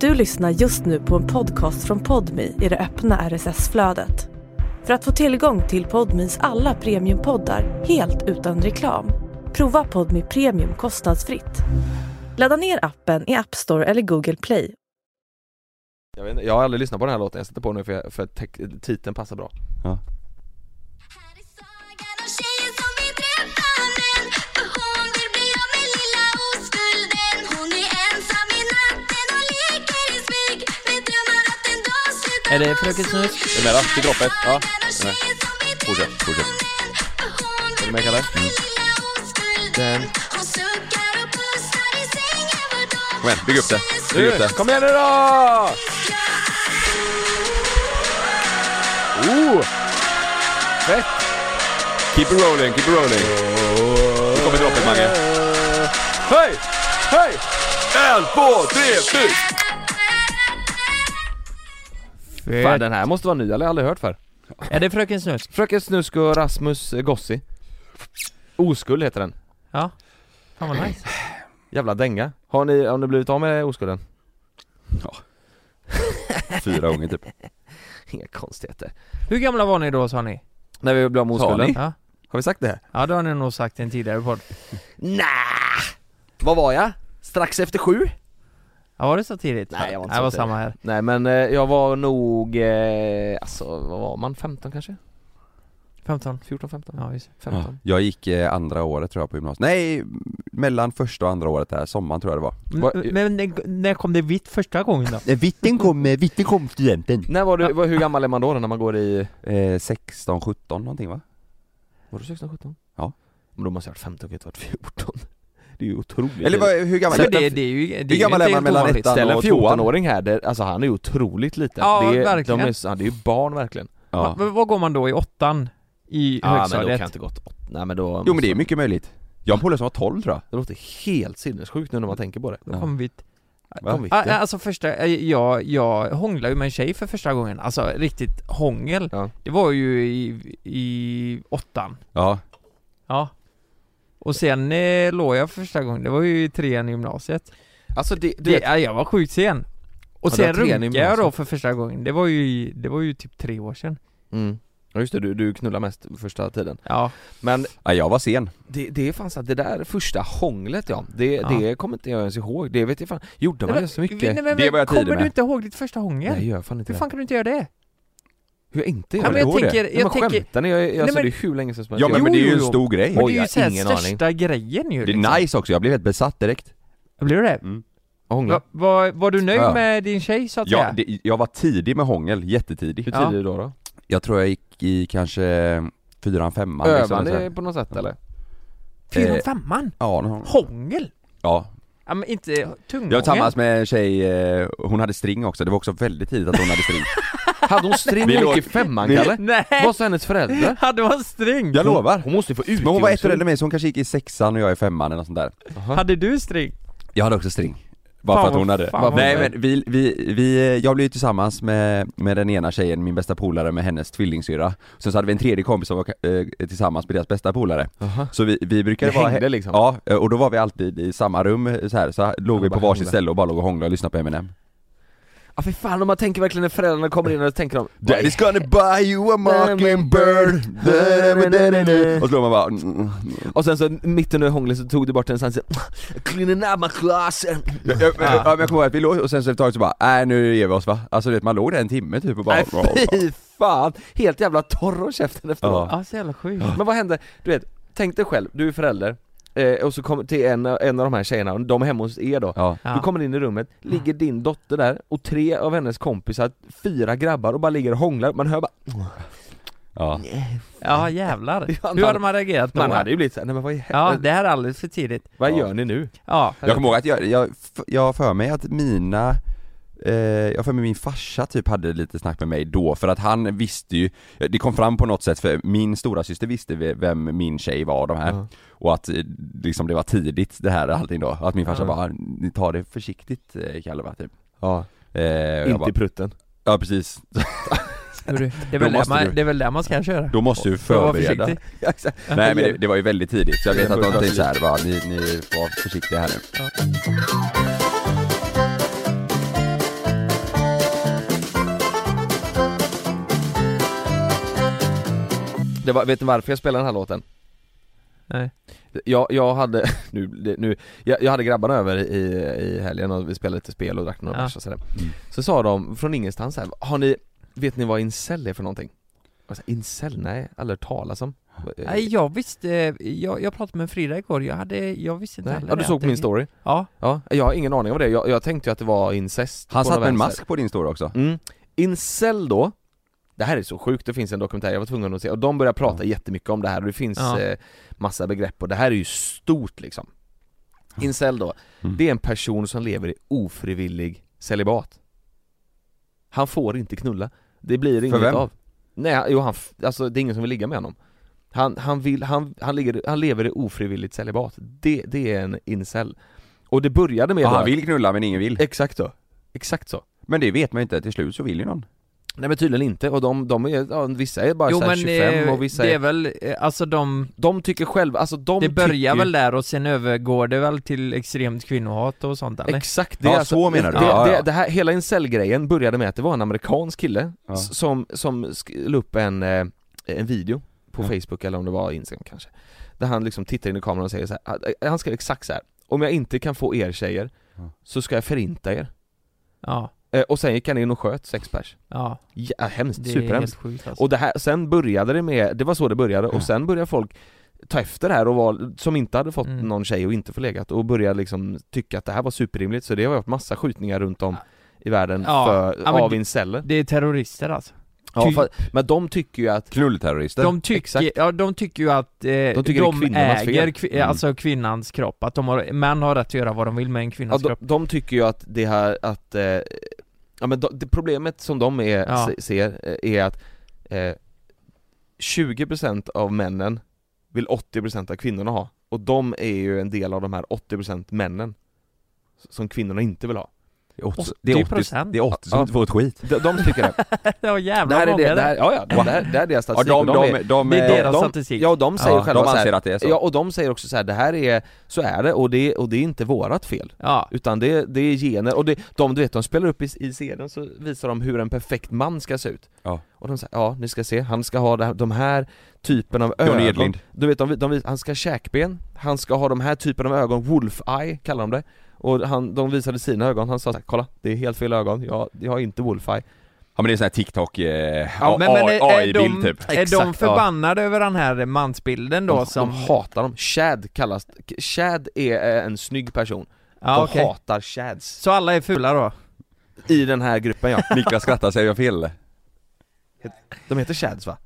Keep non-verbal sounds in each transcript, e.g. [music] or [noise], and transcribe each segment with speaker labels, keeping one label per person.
Speaker 1: Du lyssnar just nu på en podcast från Podmi i det öppna RSS-flödet. För att få tillgång till Podmis alla premiumpoddar helt utan reklam, prova Podmi Premium kostnadsfritt. Ladda ner appen i App Store eller Google Play.
Speaker 2: Jag, vet, inte, jag har aldrig lyssnat på den här låten, jag sätter på den nu för, jag- för att te- titeln passar bra
Speaker 3: Ja.
Speaker 4: Här är sagan om tjejen som vill träffa män För hon vill bli av med lilla oskulden Hon är ensam i natten och leker i smyg Med drömmar att en dag sluta
Speaker 5: Är det Fröken Snus?
Speaker 4: Är
Speaker 3: du med då? Till droppet? Ja.
Speaker 4: Fortsätt, fortsätt Är du med Kalle? Den Hon suckar och pussar i sängen var dag
Speaker 3: Kom igen, bygg upp det. Bygg upp det.
Speaker 2: Kom igen nu då!
Speaker 3: Oh! Fett! Keep it rolling, keep it rolling. Nu kommer droppet Mange. Hej! Hej! En, två, tre, fyra!
Speaker 2: Fan den här måste vara ny, jag har aldrig hört för
Speaker 5: Är det Fröken Snus?
Speaker 2: Fröken Snusk och Rasmus Gossi Oskuld heter den
Speaker 5: Ja. Fan vad nice.
Speaker 2: Jävla dänga Har ni, har ni blivit av med oskulden? [laughs]
Speaker 3: Fyra gånger typ.
Speaker 2: Inga konstigheter
Speaker 5: Hur gamla var ni då sa ni?
Speaker 2: När vi blev av med
Speaker 3: Sa
Speaker 2: oskulden?
Speaker 3: ni?
Speaker 5: Ja.
Speaker 2: Har vi sagt det här?
Speaker 5: Ja det har ni nog sagt i en tidigare podd.
Speaker 2: Nä. Vad var jag? Strax efter sju?
Speaker 5: Ja var det så tidigt?
Speaker 2: Nej, jag var inte
Speaker 5: det
Speaker 2: så
Speaker 5: var
Speaker 2: tidig.
Speaker 5: samma här.
Speaker 2: Nej men eh, jag var nog, eh, alltså vad var man? 15 kanske?
Speaker 5: 15.
Speaker 2: 14, 15?
Speaker 5: Ja visst.
Speaker 2: 15
Speaker 3: Jag gick eh, andra året tror jag på gymnasiet. Nej, mellan första och andra året där, sommaren tror jag det var.
Speaker 2: Vad-
Speaker 5: Men, men när- när kom det vitt första gången då?
Speaker 3: Vitten kom, vitten kom studenten.
Speaker 2: När var du, var, hur gammal är man då när man går i,
Speaker 3: Eh, 16, 17 någonting va?
Speaker 2: var du 16, 17?
Speaker 3: Ja.
Speaker 2: Men då måste jag ha varit 15, jag har varit 14 [laughs] Det är ju otroligt
Speaker 3: Eller vad, hur gammal?
Speaker 5: För det, det är ju, det är ju
Speaker 3: gammal är man
Speaker 5: inte helt
Speaker 3: mellan
Speaker 5: ovanligt.
Speaker 3: ettan
Speaker 2: Ställ en
Speaker 3: och tvåan.
Speaker 2: 14-åring här, det, alltså han är ju otroligt liten
Speaker 5: Ja,
Speaker 2: det, är-
Speaker 5: verkligen.
Speaker 2: De är, så- han är ju barn verkligen
Speaker 3: Ja.
Speaker 5: Va- vad går man då i åttan? I
Speaker 2: Ja men då kan
Speaker 5: högstadiet?
Speaker 2: jag inte gått åt- Nej men då
Speaker 3: Jo men det är mycket möjligt. Jag har en polare som var 12 tror jag.
Speaker 2: Det låter helt sinnessjukt nu när man tänker på det
Speaker 5: Då kom vitt.
Speaker 3: Va?
Speaker 2: Vitt,
Speaker 5: Ah,
Speaker 2: ja.
Speaker 5: alltså första, eh, jag, jag hånglade ju med en tjej för första gången, alltså riktigt hångel.
Speaker 2: Ja.
Speaker 5: Det var ju i, i åttan.
Speaker 3: Ja.
Speaker 5: Ja. Och sen eh, låg jag för första gången, det var ju i trean i gymnasiet.
Speaker 2: Alltså det,
Speaker 5: Det, ja, jag var sjukt sen. Och
Speaker 2: Ja, det var
Speaker 5: sen
Speaker 2: trean i
Speaker 5: runkade jag då
Speaker 2: gymnasiet.
Speaker 5: för första gången, det var ju, i- det var ju typ tre år sedan.
Speaker 2: mm. Ja just det, du, du knullar mest första tiden
Speaker 5: Ja.
Speaker 2: Men
Speaker 3: ja, jag var sen.
Speaker 2: det, det är fan så att det där första hånglet ja, det,
Speaker 5: Ja.
Speaker 2: det kommer inte jag ens ihåg, det vet jag fan, gjorde man det så mycket?
Speaker 5: Nej, men, men,
Speaker 3: Det var jag tidig
Speaker 5: kommer
Speaker 3: med.
Speaker 5: du inte ihåg ditt första hångel?
Speaker 2: Nej jag gör fan inte
Speaker 5: Hur
Speaker 2: det
Speaker 5: fan kan du inte göra det?
Speaker 2: Hur jag inte
Speaker 5: Ja,
Speaker 2: gör
Speaker 5: men
Speaker 2: det?
Speaker 5: jag
Speaker 3: ihåg det.
Speaker 5: tänker,
Speaker 2: Nej, men
Speaker 5: jag tänker,
Speaker 2: skämtar ni? Jag, jag,
Speaker 5: Nej,
Speaker 2: alltså,
Speaker 5: men-
Speaker 2: det är hur länge sedan som
Speaker 3: Ja men
Speaker 5: Jo,
Speaker 3: det är ju
Speaker 5: jo,
Speaker 3: en
Speaker 5: jo.
Speaker 3: stor grej.
Speaker 5: men
Speaker 2: Oj,
Speaker 5: det
Speaker 2: jag
Speaker 5: är ju
Speaker 2: har
Speaker 5: såhär
Speaker 2: ingen
Speaker 5: största grejen ju liksom.
Speaker 3: Det är nice också, jag blev helt besatt direkt.
Speaker 5: Blir du det?
Speaker 2: Hångla?
Speaker 5: Va, var, var du nöjd
Speaker 3: Ja.
Speaker 5: med din tjej så att
Speaker 3: Ja,
Speaker 5: säga?
Speaker 3: det, jag var tidig med hångel, jättetidig.
Speaker 2: Hur
Speaker 5: Ja.
Speaker 2: tidig då då?
Speaker 3: Jag tror jag gick i kanske fyran, femman liksom,
Speaker 2: Övar
Speaker 3: så här.
Speaker 2: ni på något sätt eller?
Speaker 5: Fyran,
Speaker 3: eh,
Speaker 5: femman?
Speaker 3: Ja, någon-
Speaker 5: Hångel?
Speaker 3: ja.
Speaker 5: Ja men inte tunghångel?
Speaker 3: Jag var tillsammans med en tjej, eh, hon hade string också, det var också väldigt tidigt att hon hade
Speaker 5: [laughs]
Speaker 3: string.
Speaker 2: [laughs] Hade hon string
Speaker 3: Vi
Speaker 2: när hon
Speaker 3: låg-
Speaker 2: gick i femman
Speaker 3: vi-
Speaker 2: Kalle?
Speaker 5: Nej!
Speaker 2: Vad sa hennes föräldrar?
Speaker 5: [laughs] Ja, det var en string!
Speaker 3: Jag lovar!
Speaker 2: Hon måste ju få ut
Speaker 3: Men hon var ett år äldre än mig så hon kanske gick i sexan och jag i femman eller något sånt där.
Speaker 5: Hade du string?
Speaker 3: Jag hade också string. Bara
Speaker 5: Fan
Speaker 3: för att hon
Speaker 5: vad-
Speaker 3: hade.
Speaker 5: fan vad
Speaker 3: Nej
Speaker 5: fett.
Speaker 3: men vi, vi, vi, jag blev ju tillsammans med, med den ena tjejen, min bästa polare med hennes tvillingsyrra. Sen så hade vi en tredje kompis som var eh, tillsammans med deras bästa polare. Så vi, vi brukade
Speaker 2: Ni
Speaker 3: vara...
Speaker 2: hängde liksom?
Speaker 3: Ja, eh, och då var vi alltid i samma rum eh, så här, så låg vi
Speaker 2: bara
Speaker 3: på varsitt
Speaker 2: hånglade.
Speaker 3: ställe och bara låg och hånglade och lyssnade på M&M. Eminem.
Speaker 2: Ja för fan om man tänker verkligen när föräldrarna kommer in och så tänker de
Speaker 3: Daddy's gonna buy you
Speaker 2: [laughs]
Speaker 3: a mockingbird Och så låg man bara mm.
Speaker 2: Och sen så mitt under hånglet så tog du bort en sån här Cleaning out my closet
Speaker 3: jag, jag, jag, ja, men jag kommer ihåg att vi låg och sen så efter ett tag så bara nej nu ger vi oss va? Alltså du vet man låg där en timme typ och bara
Speaker 2: Nej fy fan! Helt jävla torr om käften efteråt
Speaker 5: Ja, så jävla sjukt.
Speaker 2: Men vad hände? Du vet, tänk dig själv, du är förälder eh, och så kommer till en, en av de här tjejerna, och de är hemma hos er då
Speaker 3: Ja.
Speaker 5: Ja.
Speaker 2: Du kommer in i rummet, ligger din dotter där och tre av hennes kompisar, fyra grabbar och bara ligger och hånglar, man hör bara
Speaker 3: Ja.
Speaker 5: Ja jävlar.
Speaker 2: [laughs] Ja,
Speaker 5: Hur hade
Speaker 2: man-
Speaker 5: man reagerat då?
Speaker 2: Man hade ju blivit såhär, nej men vad, i
Speaker 5: Ja,
Speaker 2: helvete,
Speaker 5: det här är alldeles för tidigt.
Speaker 2: vad
Speaker 3: Ja.
Speaker 2: gör ni nu? [laughs]
Speaker 5: Ja.
Speaker 3: Jag kommer ihåg att jag, jag, f- jag har för mig att mina eh, jag har för mig min farsa typ hade lite snack med mig då för att han visste ju Det kom fram på något sätt för min stora syster visste ve- vem min tjej var de här
Speaker 2: Ja.
Speaker 3: Och att eh, liksom det var tidigt det här allting då Att min farsa
Speaker 2: Ja.
Speaker 3: bara Ni tar det försiktigt eh, Kalle va typ
Speaker 2: Ja,
Speaker 3: eh, och jag
Speaker 2: inte
Speaker 3: bara,
Speaker 2: i prutten
Speaker 3: Ja precis
Speaker 5: Hur du- Det
Speaker 3: Då
Speaker 5: är, väl där
Speaker 3: måste
Speaker 5: man,
Speaker 3: du-
Speaker 5: det är väl där man ska köra?
Speaker 3: Då måste du
Speaker 5: För att vara
Speaker 3: förbereda
Speaker 5: försiktig.
Speaker 3: Nej men det, det var ju väldigt tidigt så jag vet
Speaker 2: Det
Speaker 3: att
Speaker 2: var
Speaker 3: de tänkte
Speaker 2: tidigt.
Speaker 3: såhär bara ni, ni var försiktiga här nu
Speaker 2: Det var, vet ni varför jag spelade den här låten?
Speaker 5: Nej.
Speaker 2: Jag, jag hade, [laughs] nu, det- nu jag, jag hade grabbarna över i, i helgen och vi spelade lite spel och drack några
Speaker 5: Ja.
Speaker 2: bärs och sådär Så sa de från ingenstans här, har ni, vet ni vad incel är för någonting? Jag sa, incel? Nej, aldrig hört talas om
Speaker 5: Nej jag visste, jag, jag pratade med Frida igår, jag hade, jag visste inte
Speaker 2: Nej.
Speaker 5: heller
Speaker 2: Ja du
Speaker 5: det,
Speaker 2: såg
Speaker 5: att
Speaker 2: på
Speaker 5: det-
Speaker 2: min story?
Speaker 5: Ja,
Speaker 2: Ja, jag har ingen aning om det, jag, jag tänkte ju att det var incest på
Speaker 3: Han satt
Speaker 2: någon
Speaker 3: med en
Speaker 2: vänster.
Speaker 3: mask på din story också.
Speaker 2: Mm. Incel då, det här är så sjukt, det finns en dokumentär jag var tvungen att se, och de börjar prata jättemycket om det här och det finns
Speaker 5: Ja.
Speaker 2: eh, massa begrepp och det här är ju stort liksom Incel då,
Speaker 3: Mm.
Speaker 2: det är en person som lever i ofrivillig celibat Han får inte knulla, det blir inget
Speaker 3: vem?
Speaker 2: av Nej, han- jo han, f- alltså det är ingen som vill ligga med honom Han, han vill, han, han, ligger, han lever i ofrivilligt celibat, det, det är en incel Och det började med
Speaker 3: Ja,
Speaker 2: då-
Speaker 3: han vill knulla men ingen vill.
Speaker 2: Exakt så, exakt så
Speaker 3: Men det vet man ju inte, till slut så vill ju någon.
Speaker 2: Nej men tydligen inte, och de, de är, ja, vissa är bara
Speaker 5: jo
Speaker 2: så här
Speaker 5: men
Speaker 2: 25
Speaker 5: eh,
Speaker 2: och vissa
Speaker 5: det
Speaker 2: är,
Speaker 5: är väl, eh, alltså de,
Speaker 2: de tycker själva, alltså de
Speaker 5: det börjar
Speaker 2: tycker,
Speaker 5: väl där och sen övergår det väl till extremt kvinnohat och sånt eller?
Speaker 2: Exakt, det är
Speaker 3: Ja,
Speaker 2: alltså,
Speaker 3: så menar du.
Speaker 2: Det,
Speaker 3: Ja,
Speaker 2: det,
Speaker 3: ja.
Speaker 2: det här, hela incel-grejen började med att det var en amerikansk kille
Speaker 3: Ja.
Speaker 2: s- som, som sk- la upp en, eh, en video på Facebook eller om det var Instagram kanske Där han liksom tittar in i kameran och säger så här, "Ah, eh, han- han skrev exakt så här. Om jag inte kan få er tjejer,
Speaker 3: Ja.
Speaker 2: så ska jag förinta er
Speaker 5: Ja,
Speaker 2: eh, Och sen gick han in och sköt sex pers
Speaker 5: ja,
Speaker 2: ja, Hemskt,
Speaker 5: det är
Speaker 2: superhemskt
Speaker 5: helt sjukt alltså.
Speaker 2: Och det här, sen började det med, det var så det började
Speaker 3: Ja.
Speaker 2: och sen började folk ta efter det här och var, som inte hade fått
Speaker 5: Mm.
Speaker 2: någon tjej och inte förlegat och började liksom tycka att det här var superrimligt så det har varit massa skjutningar runt om i världen
Speaker 5: Ja.
Speaker 2: för,
Speaker 5: Ja, men
Speaker 2: av
Speaker 5: det-
Speaker 2: inceller
Speaker 5: Det är terrorister alltså.
Speaker 2: ja,
Speaker 5: typ.
Speaker 2: för, Men de tycker ju att,
Speaker 3: Knullterrorister.
Speaker 5: De tycker,
Speaker 2: Exakt.
Speaker 5: ja, de tycker ju att eh, de,
Speaker 2: tycker det är kvinnornas
Speaker 5: äger
Speaker 2: fel.
Speaker 5: kvi,
Speaker 3: Mm.
Speaker 5: alltså kvinnans kropp, att de har, män har rätt att göra vad de vill med en
Speaker 2: ja,
Speaker 5: kvinnas
Speaker 2: de,
Speaker 5: kropp.
Speaker 2: de tycker ju att det här, att, eh, ja men de, det problemet som de är,
Speaker 5: Ja.
Speaker 2: se- ser eh, är att eh, 20% av männen vill 80% av kvinnorna ha och de är ju en del av de här 80% männen s- som kvinnorna inte vill ha
Speaker 3: Det är 80,
Speaker 5: 80%.
Speaker 3: det är 80, det är 80 som
Speaker 2: Ja.
Speaker 3: inte får ett skit.
Speaker 2: De, de tycker
Speaker 3: [laughs]
Speaker 2: det.
Speaker 5: [laughs] Ja
Speaker 2: det
Speaker 5: jävlar
Speaker 2: här är
Speaker 5: många
Speaker 2: det,
Speaker 5: det,
Speaker 2: det här, ja, ja, det här, det här är deras
Speaker 3: Ja,
Speaker 2: statistik.
Speaker 3: de,
Speaker 2: och
Speaker 3: de,
Speaker 2: är-
Speaker 3: de, de,
Speaker 5: Det är
Speaker 2: de-
Speaker 5: deras
Speaker 2: de-
Speaker 5: statistik.
Speaker 2: ja, de säger
Speaker 5: Ja,
Speaker 2: själva
Speaker 3: de
Speaker 2: så
Speaker 3: anser
Speaker 2: här,
Speaker 3: att det är så.
Speaker 2: Ja, och de säger också så här, det här är, så är det och det, och det är inte vårat fel.
Speaker 5: Ja,
Speaker 2: Utan det, det är gener, och det, de, du vet, de spelar upp i, i serien så visar de hur en perfekt man ska se ut.
Speaker 3: Ja.
Speaker 2: Och de säger, ja ni ska se, han ska ha det här, de här typen av
Speaker 3: Johnny
Speaker 2: ögon.
Speaker 3: Edlind.
Speaker 2: Du vet, de, de, vis- han ska ha käkben, han ska ha de här typen av ögon, wolf eye kallar de det. Och han, de visade sina ögon, han sa så här, kolla, det är helt fel ögon, jag, jag har inte wolf eye.
Speaker 3: Ja men det är sån här TikTok, eh,
Speaker 5: ja men, men är, är,
Speaker 3: AI-bild
Speaker 5: de,
Speaker 3: typ.
Speaker 5: är de
Speaker 2: Exakt, ja.
Speaker 5: förbannade över den här mansbilden då
Speaker 2: de,
Speaker 5: som...
Speaker 2: de hatar dem, Chad kallas, Chad är eh, en snygg person,
Speaker 5: ja,
Speaker 2: de
Speaker 5: okej.
Speaker 2: hatar Chads
Speaker 5: Så alla är fula då?
Speaker 2: I den här gruppen ja,
Speaker 3: Niklas skrattar, säger jag fel eller?
Speaker 2: de heter Chads va?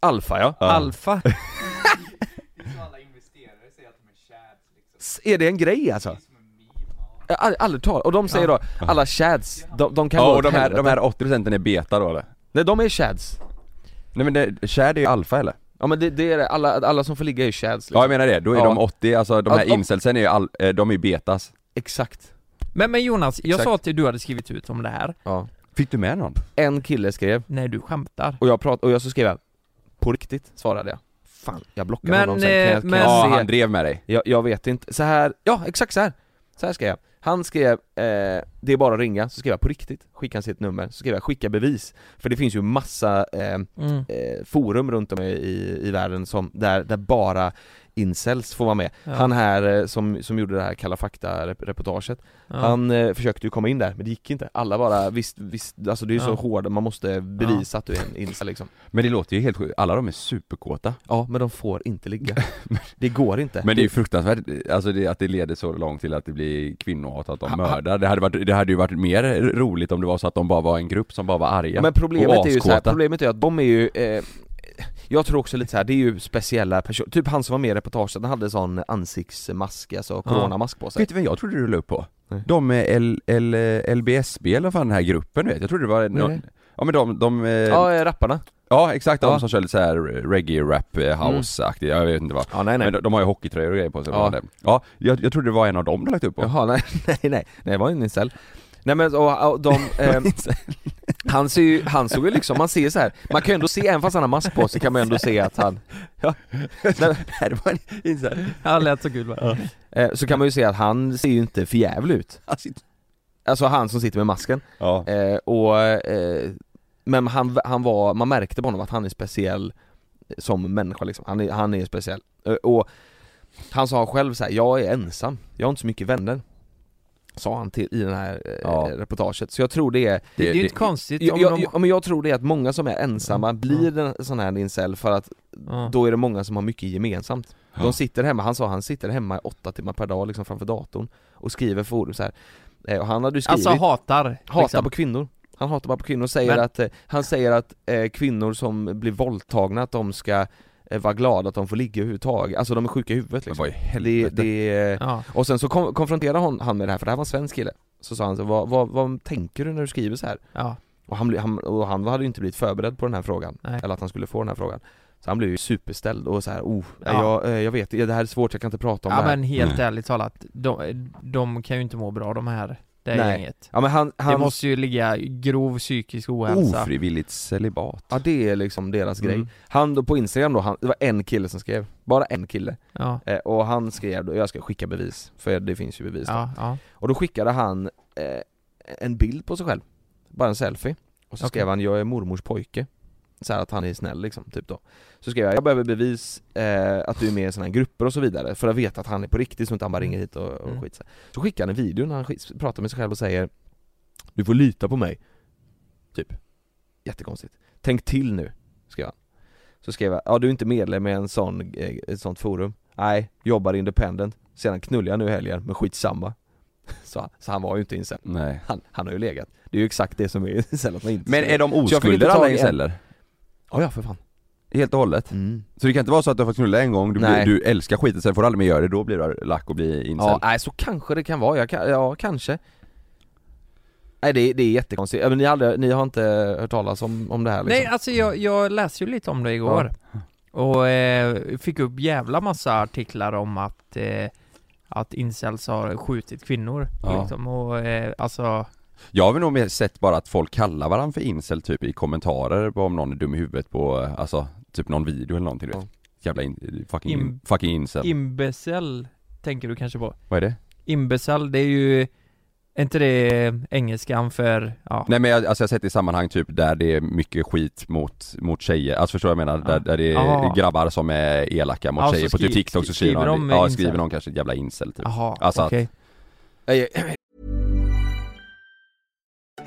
Speaker 2: Alfa ja, [laughs]
Speaker 5: Alfa?
Speaker 2: S- är det en grej alltså? Jag har ald- aldrig talat, och de säger då, alla Chads, de, de kan
Speaker 3: Ja,
Speaker 2: gå
Speaker 3: och de
Speaker 2: åt
Speaker 3: här, de här
Speaker 2: helvete.
Speaker 3: 80% är beta då eller?
Speaker 2: Nej de är Chads,
Speaker 3: Nej men det, Chad är ju alfa eller?
Speaker 2: ja men det, det är det. alla, alla som får ligga är Chads liksom.
Speaker 3: Ja jag menar det, då är
Speaker 2: Ja.
Speaker 3: de 80, alltså de
Speaker 2: Ja,
Speaker 3: här
Speaker 2: de-
Speaker 3: incelsen är ju all, eh, de är ju betas
Speaker 2: Exakt,
Speaker 5: Men, men Jonas, jag
Speaker 2: Exakt.
Speaker 5: sa att du hade skrivit ut om det här.
Speaker 2: ja
Speaker 3: Fick du med någon?
Speaker 2: En kille skrev,
Speaker 5: Nej du skämtar.
Speaker 2: och jag pratade, och jag så skrev jag På riktigt, svarade jag Fan, jag blockade
Speaker 5: Men,
Speaker 2: honom sen, kan jag, kan
Speaker 5: eh,
Speaker 2: jag
Speaker 3: Ja
Speaker 2: se?
Speaker 3: han drev med dig
Speaker 2: Jag, jag vet inte, så här ja exakt så här. Så här skrev jag, han skrev eh, 'Det är bara att ringa' så skrev jag på riktigt, skicka han sitt nummer, så skrev jag 'Skicka bevis' För det finns ju massa eh,
Speaker 5: Mm.
Speaker 2: eh, forum runt om i, i, i världen som, där, där bara incels får vara med
Speaker 5: Ja.
Speaker 2: Han här eh, som, som gjorde det här Kalla fakta-reportaget,
Speaker 5: Ja.
Speaker 2: han eh, försökte ju komma in där men det gick inte Alla bara, visst, visst alltså det är ju
Speaker 5: Ja.
Speaker 2: så hård, man måste bevisa att du är en incel liksom
Speaker 3: Men det låter ju helt sjukt, alla de är superkåta
Speaker 2: Ja men de får inte ligga, det går inte
Speaker 3: Men det är ju fruktansvärt, alltså det, att det leder så långt till att det blir kvinnohat, att de
Speaker 2: Ha- ha-
Speaker 3: mördar det hade, varit, det hade ju varit mer roligt om det var så att de bara var en grupp som bara var arga
Speaker 2: Men problemet
Speaker 3: och
Speaker 2: är ju så här,
Speaker 3: askåta.
Speaker 2: problemet är att de är ju eh, jag tror också lite så här, det är ju speciella personer, typ han som var med i reportaget, han hade sån ansiktsmask, alltså coronamask på sig
Speaker 3: Vet du vem jag trodde du la upp på?
Speaker 2: Nej.
Speaker 3: De med L, L, LBSB eller vad fan den här gruppen du vet, jag trodde det var någon,
Speaker 2: det?
Speaker 3: Ja men de, de, eh,
Speaker 2: Ja,
Speaker 3: ja,
Speaker 2: eh, rapparna
Speaker 3: exakt de
Speaker 2: Ja.
Speaker 3: som kör lite såhär reggae-rap, eh, house-aktiga, jag vet inte vad
Speaker 2: Ja nej
Speaker 3: Men de, de har ju hockeytröjor och grejer på sig
Speaker 2: Ja.
Speaker 3: ja. ja, jag, jag trodde det var en av dem du lagt upp
Speaker 2: [laughs]
Speaker 3: på
Speaker 2: Jaha, nej, nej, nej, nej, det var ingen incel Nej men och,
Speaker 3: [laughs]
Speaker 2: och de, eh, han ser ju, han såg ju liksom, man ser så här. man kan ju ändå se, även fast han har mask på sig kan man ju ändå se att han
Speaker 3: [laughs]
Speaker 2: ja, nej,
Speaker 3: Nej, det var en incel.
Speaker 5: Ja, det lät så kul va?
Speaker 2: eh, Så kan man ju se att han ser ju inte förjävlig ut
Speaker 3: Alltså, inte-
Speaker 2: Alltså han som sitter med masken
Speaker 3: Ja.
Speaker 2: Eh, och eh, Men han, han var, man märkte på honom att han är speciell som människa liksom. han, är, han är speciell. Ö, Och han sa själv så här: jag är ensam, jag har inte så mycket vänner. Sa han till, i det här eh,
Speaker 3: Ja.
Speaker 2: reportaget. Så jag tror det är,
Speaker 5: Det, är ju
Speaker 3: det-
Speaker 5: inte konstigt
Speaker 2: jag,
Speaker 5: om
Speaker 2: jag,
Speaker 5: de...
Speaker 2: jag, men jag tror det är att många som är ensamma
Speaker 5: Mm.
Speaker 2: blir en sån här incel för att
Speaker 5: Ja.
Speaker 2: då är det många som har mycket gemensamt.
Speaker 3: Ja.
Speaker 2: De sitter hemma, han sa han sitter hemma i åtta timmar per dag liksom framför datorn och skriver forum så här. Eh, Och han hade ju skrivit
Speaker 5: Alltså hatar.
Speaker 2: Hatar
Speaker 5: liksom.
Speaker 2: på kvinnor. Han hatar bara på kvinnor och säger
Speaker 5: Men-
Speaker 2: att, eh, han säger att eh, kvinnor som blir våldtagna, att de ska eh, vara glada att de får ligga överhuvudtaget. Alltså de är sjuka i huvudet
Speaker 3: Men
Speaker 2: liksom.
Speaker 3: vad i
Speaker 2: det,
Speaker 3: helvete?
Speaker 2: det, är-
Speaker 5: Ja.
Speaker 2: och sen så kom, konfronterade hon, han med det här, för det här var en svensk kille. Så sa han så, vad, vad, vad tänker du när du skriver så här?
Speaker 5: ja.
Speaker 2: Och han, bli- han, och han hade ju inte blivit förberedd på den här frågan,
Speaker 5: Nej.
Speaker 2: eller att han skulle få den här frågan. Så han blev ju superställd och så här, oh,
Speaker 5: Ja.
Speaker 2: jag, eh, jag vet, det här är svårt, jag kan inte prata om
Speaker 5: ja
Speaker 2: det här.
Speaker 5: men helt
Speaker 3: Mm.
Speaker 5: ärligt talat, de, de kan ju inte må bra de här, det här
Speaker 2: Nej.
Speaker 5: gänget.
Speaker 2: Ja men han,
Speaker 5: Det
Speaker 2: han
Speaker 5: måste ju ligga grov psykisk ohälsa.
Speaker 3: Ofrivilligt celibat.
Speaker 2: ja det är liksom deras grej.
Speaker 5: Mm.
Speaker 2: Han då på Instagram då, han, det var en kille som skrev, bara en kille.
Speaker 5: Ja.
Speaker 2: Eh, och han skrev då, jag ska skicka bevis, för det finns ju bevis då.
Speaker 5: Ja, ja.
Speaker 2: Och då skickade han eh, en bild på sig själv, bara en selfie. Och så
Speaker 5: Okej.
Speaker 2: skrev han 'Jag är mormors pojke' så här att han är snäll liksom, typ då. Så skrev jag 'Jag behöver bevis eh, att du är med i såna här grupper och så vidare, för att veta att han är på riktigt så inte han bara ringer hit och, och
Speaker 5: Mm.
Speaker 2: skit så, här. så skickade han en video när han skit- pratar med sig själv och säger 'Du får lita på mig' Typ. Jättekonstigt. 'Tänk till nu' skrev han. Så skrev jag 'Ja du är inte medlem i en sån, eh, ett sånt forum' Nej, jobbar independent. Sedan knullar jag nu i helgen, men [laughs] skitsamma. Så, han- så han var ju inte incel.
Speaker 3: Nej.
Speaker 2: Han, han har ju legat. Det är ju exakt det som är [laughs] incel, att man inte
Speaker 3: Men är de
Speaker 2: fick inte
Speaker 3: oskulder
Speaker 2: tag
Speaker 3: alla
Speaker 2: i en.
Speaker 3: inceller?
Speaker 2: Ja, ja för fan.
Speaker 3: Helt och hållet? Så det kan inte vara så att du har fått knulla en gång, du, blir,
Speaker 2: Nej.
Speaker 3: du älskar skiten, sen får du aldrig mer göra det, då blir du lack och blir incel?
Speaker 2: Ja, nej så kanske det kan vara, jag kan, ja kanske. Nej det, är- det är jättekonstigt, Ja, men ni, har aldrig, ni har inte hört talas om, om det här liksom?
Speaker 5: Nej alltså jag, jag läste ju lite om det igår. Och eh, fick upp jävla massa artiklar om att, eh, att incels har skjutit kvinnor.
Speaker 3: Ja.
Speaker 5: Liksom. Och eh, alltså,
Speaker 3: Jag har väl nog mer sett bara att folk kallar varandra för incel typ i kommentarer på om någon är dum i huvudet på, eh, alltså typ någon video eller någonting du vet. Jävla in, fucking,
Speaker 5: Im-
Speaker 3: fucking incel.
Speaker 5: imbecell tänker du kanske på.
Speaker 3: Vad är det?
Speaker 5: Imbecell, det är ju, är inte det engelskan för, ja.
Speaker 3: Nej men jag, alltså jag har sett det i sammanhang typ där det är mycket skit mot, mot tjejer, alltså förstår du vad jag menar?
Speaker 5: Ja.
Speaker 3: Där, där det är
Speaker 5: Aha.
Speaker 3: grabbar som är elaka mot
Speaker 5: Ja, så
Speaker 3: tjejer på typ
Speaker 5: skri-
Speaker 3: TikTok så
Speaker 5: skri-
Speaker 3: skriver
Speaker 5: skriver
Speaker 3: någon,
Speaker 5: de
Speaker 3: ja,
Speaker 5: incel.
Speaker 3: skriver någon kanske ett jävla incel typ.
Speaker 5: Jaha,
Speaker 3: Alltså att-
Speaker 5: okej.
Speaker 2: Nej,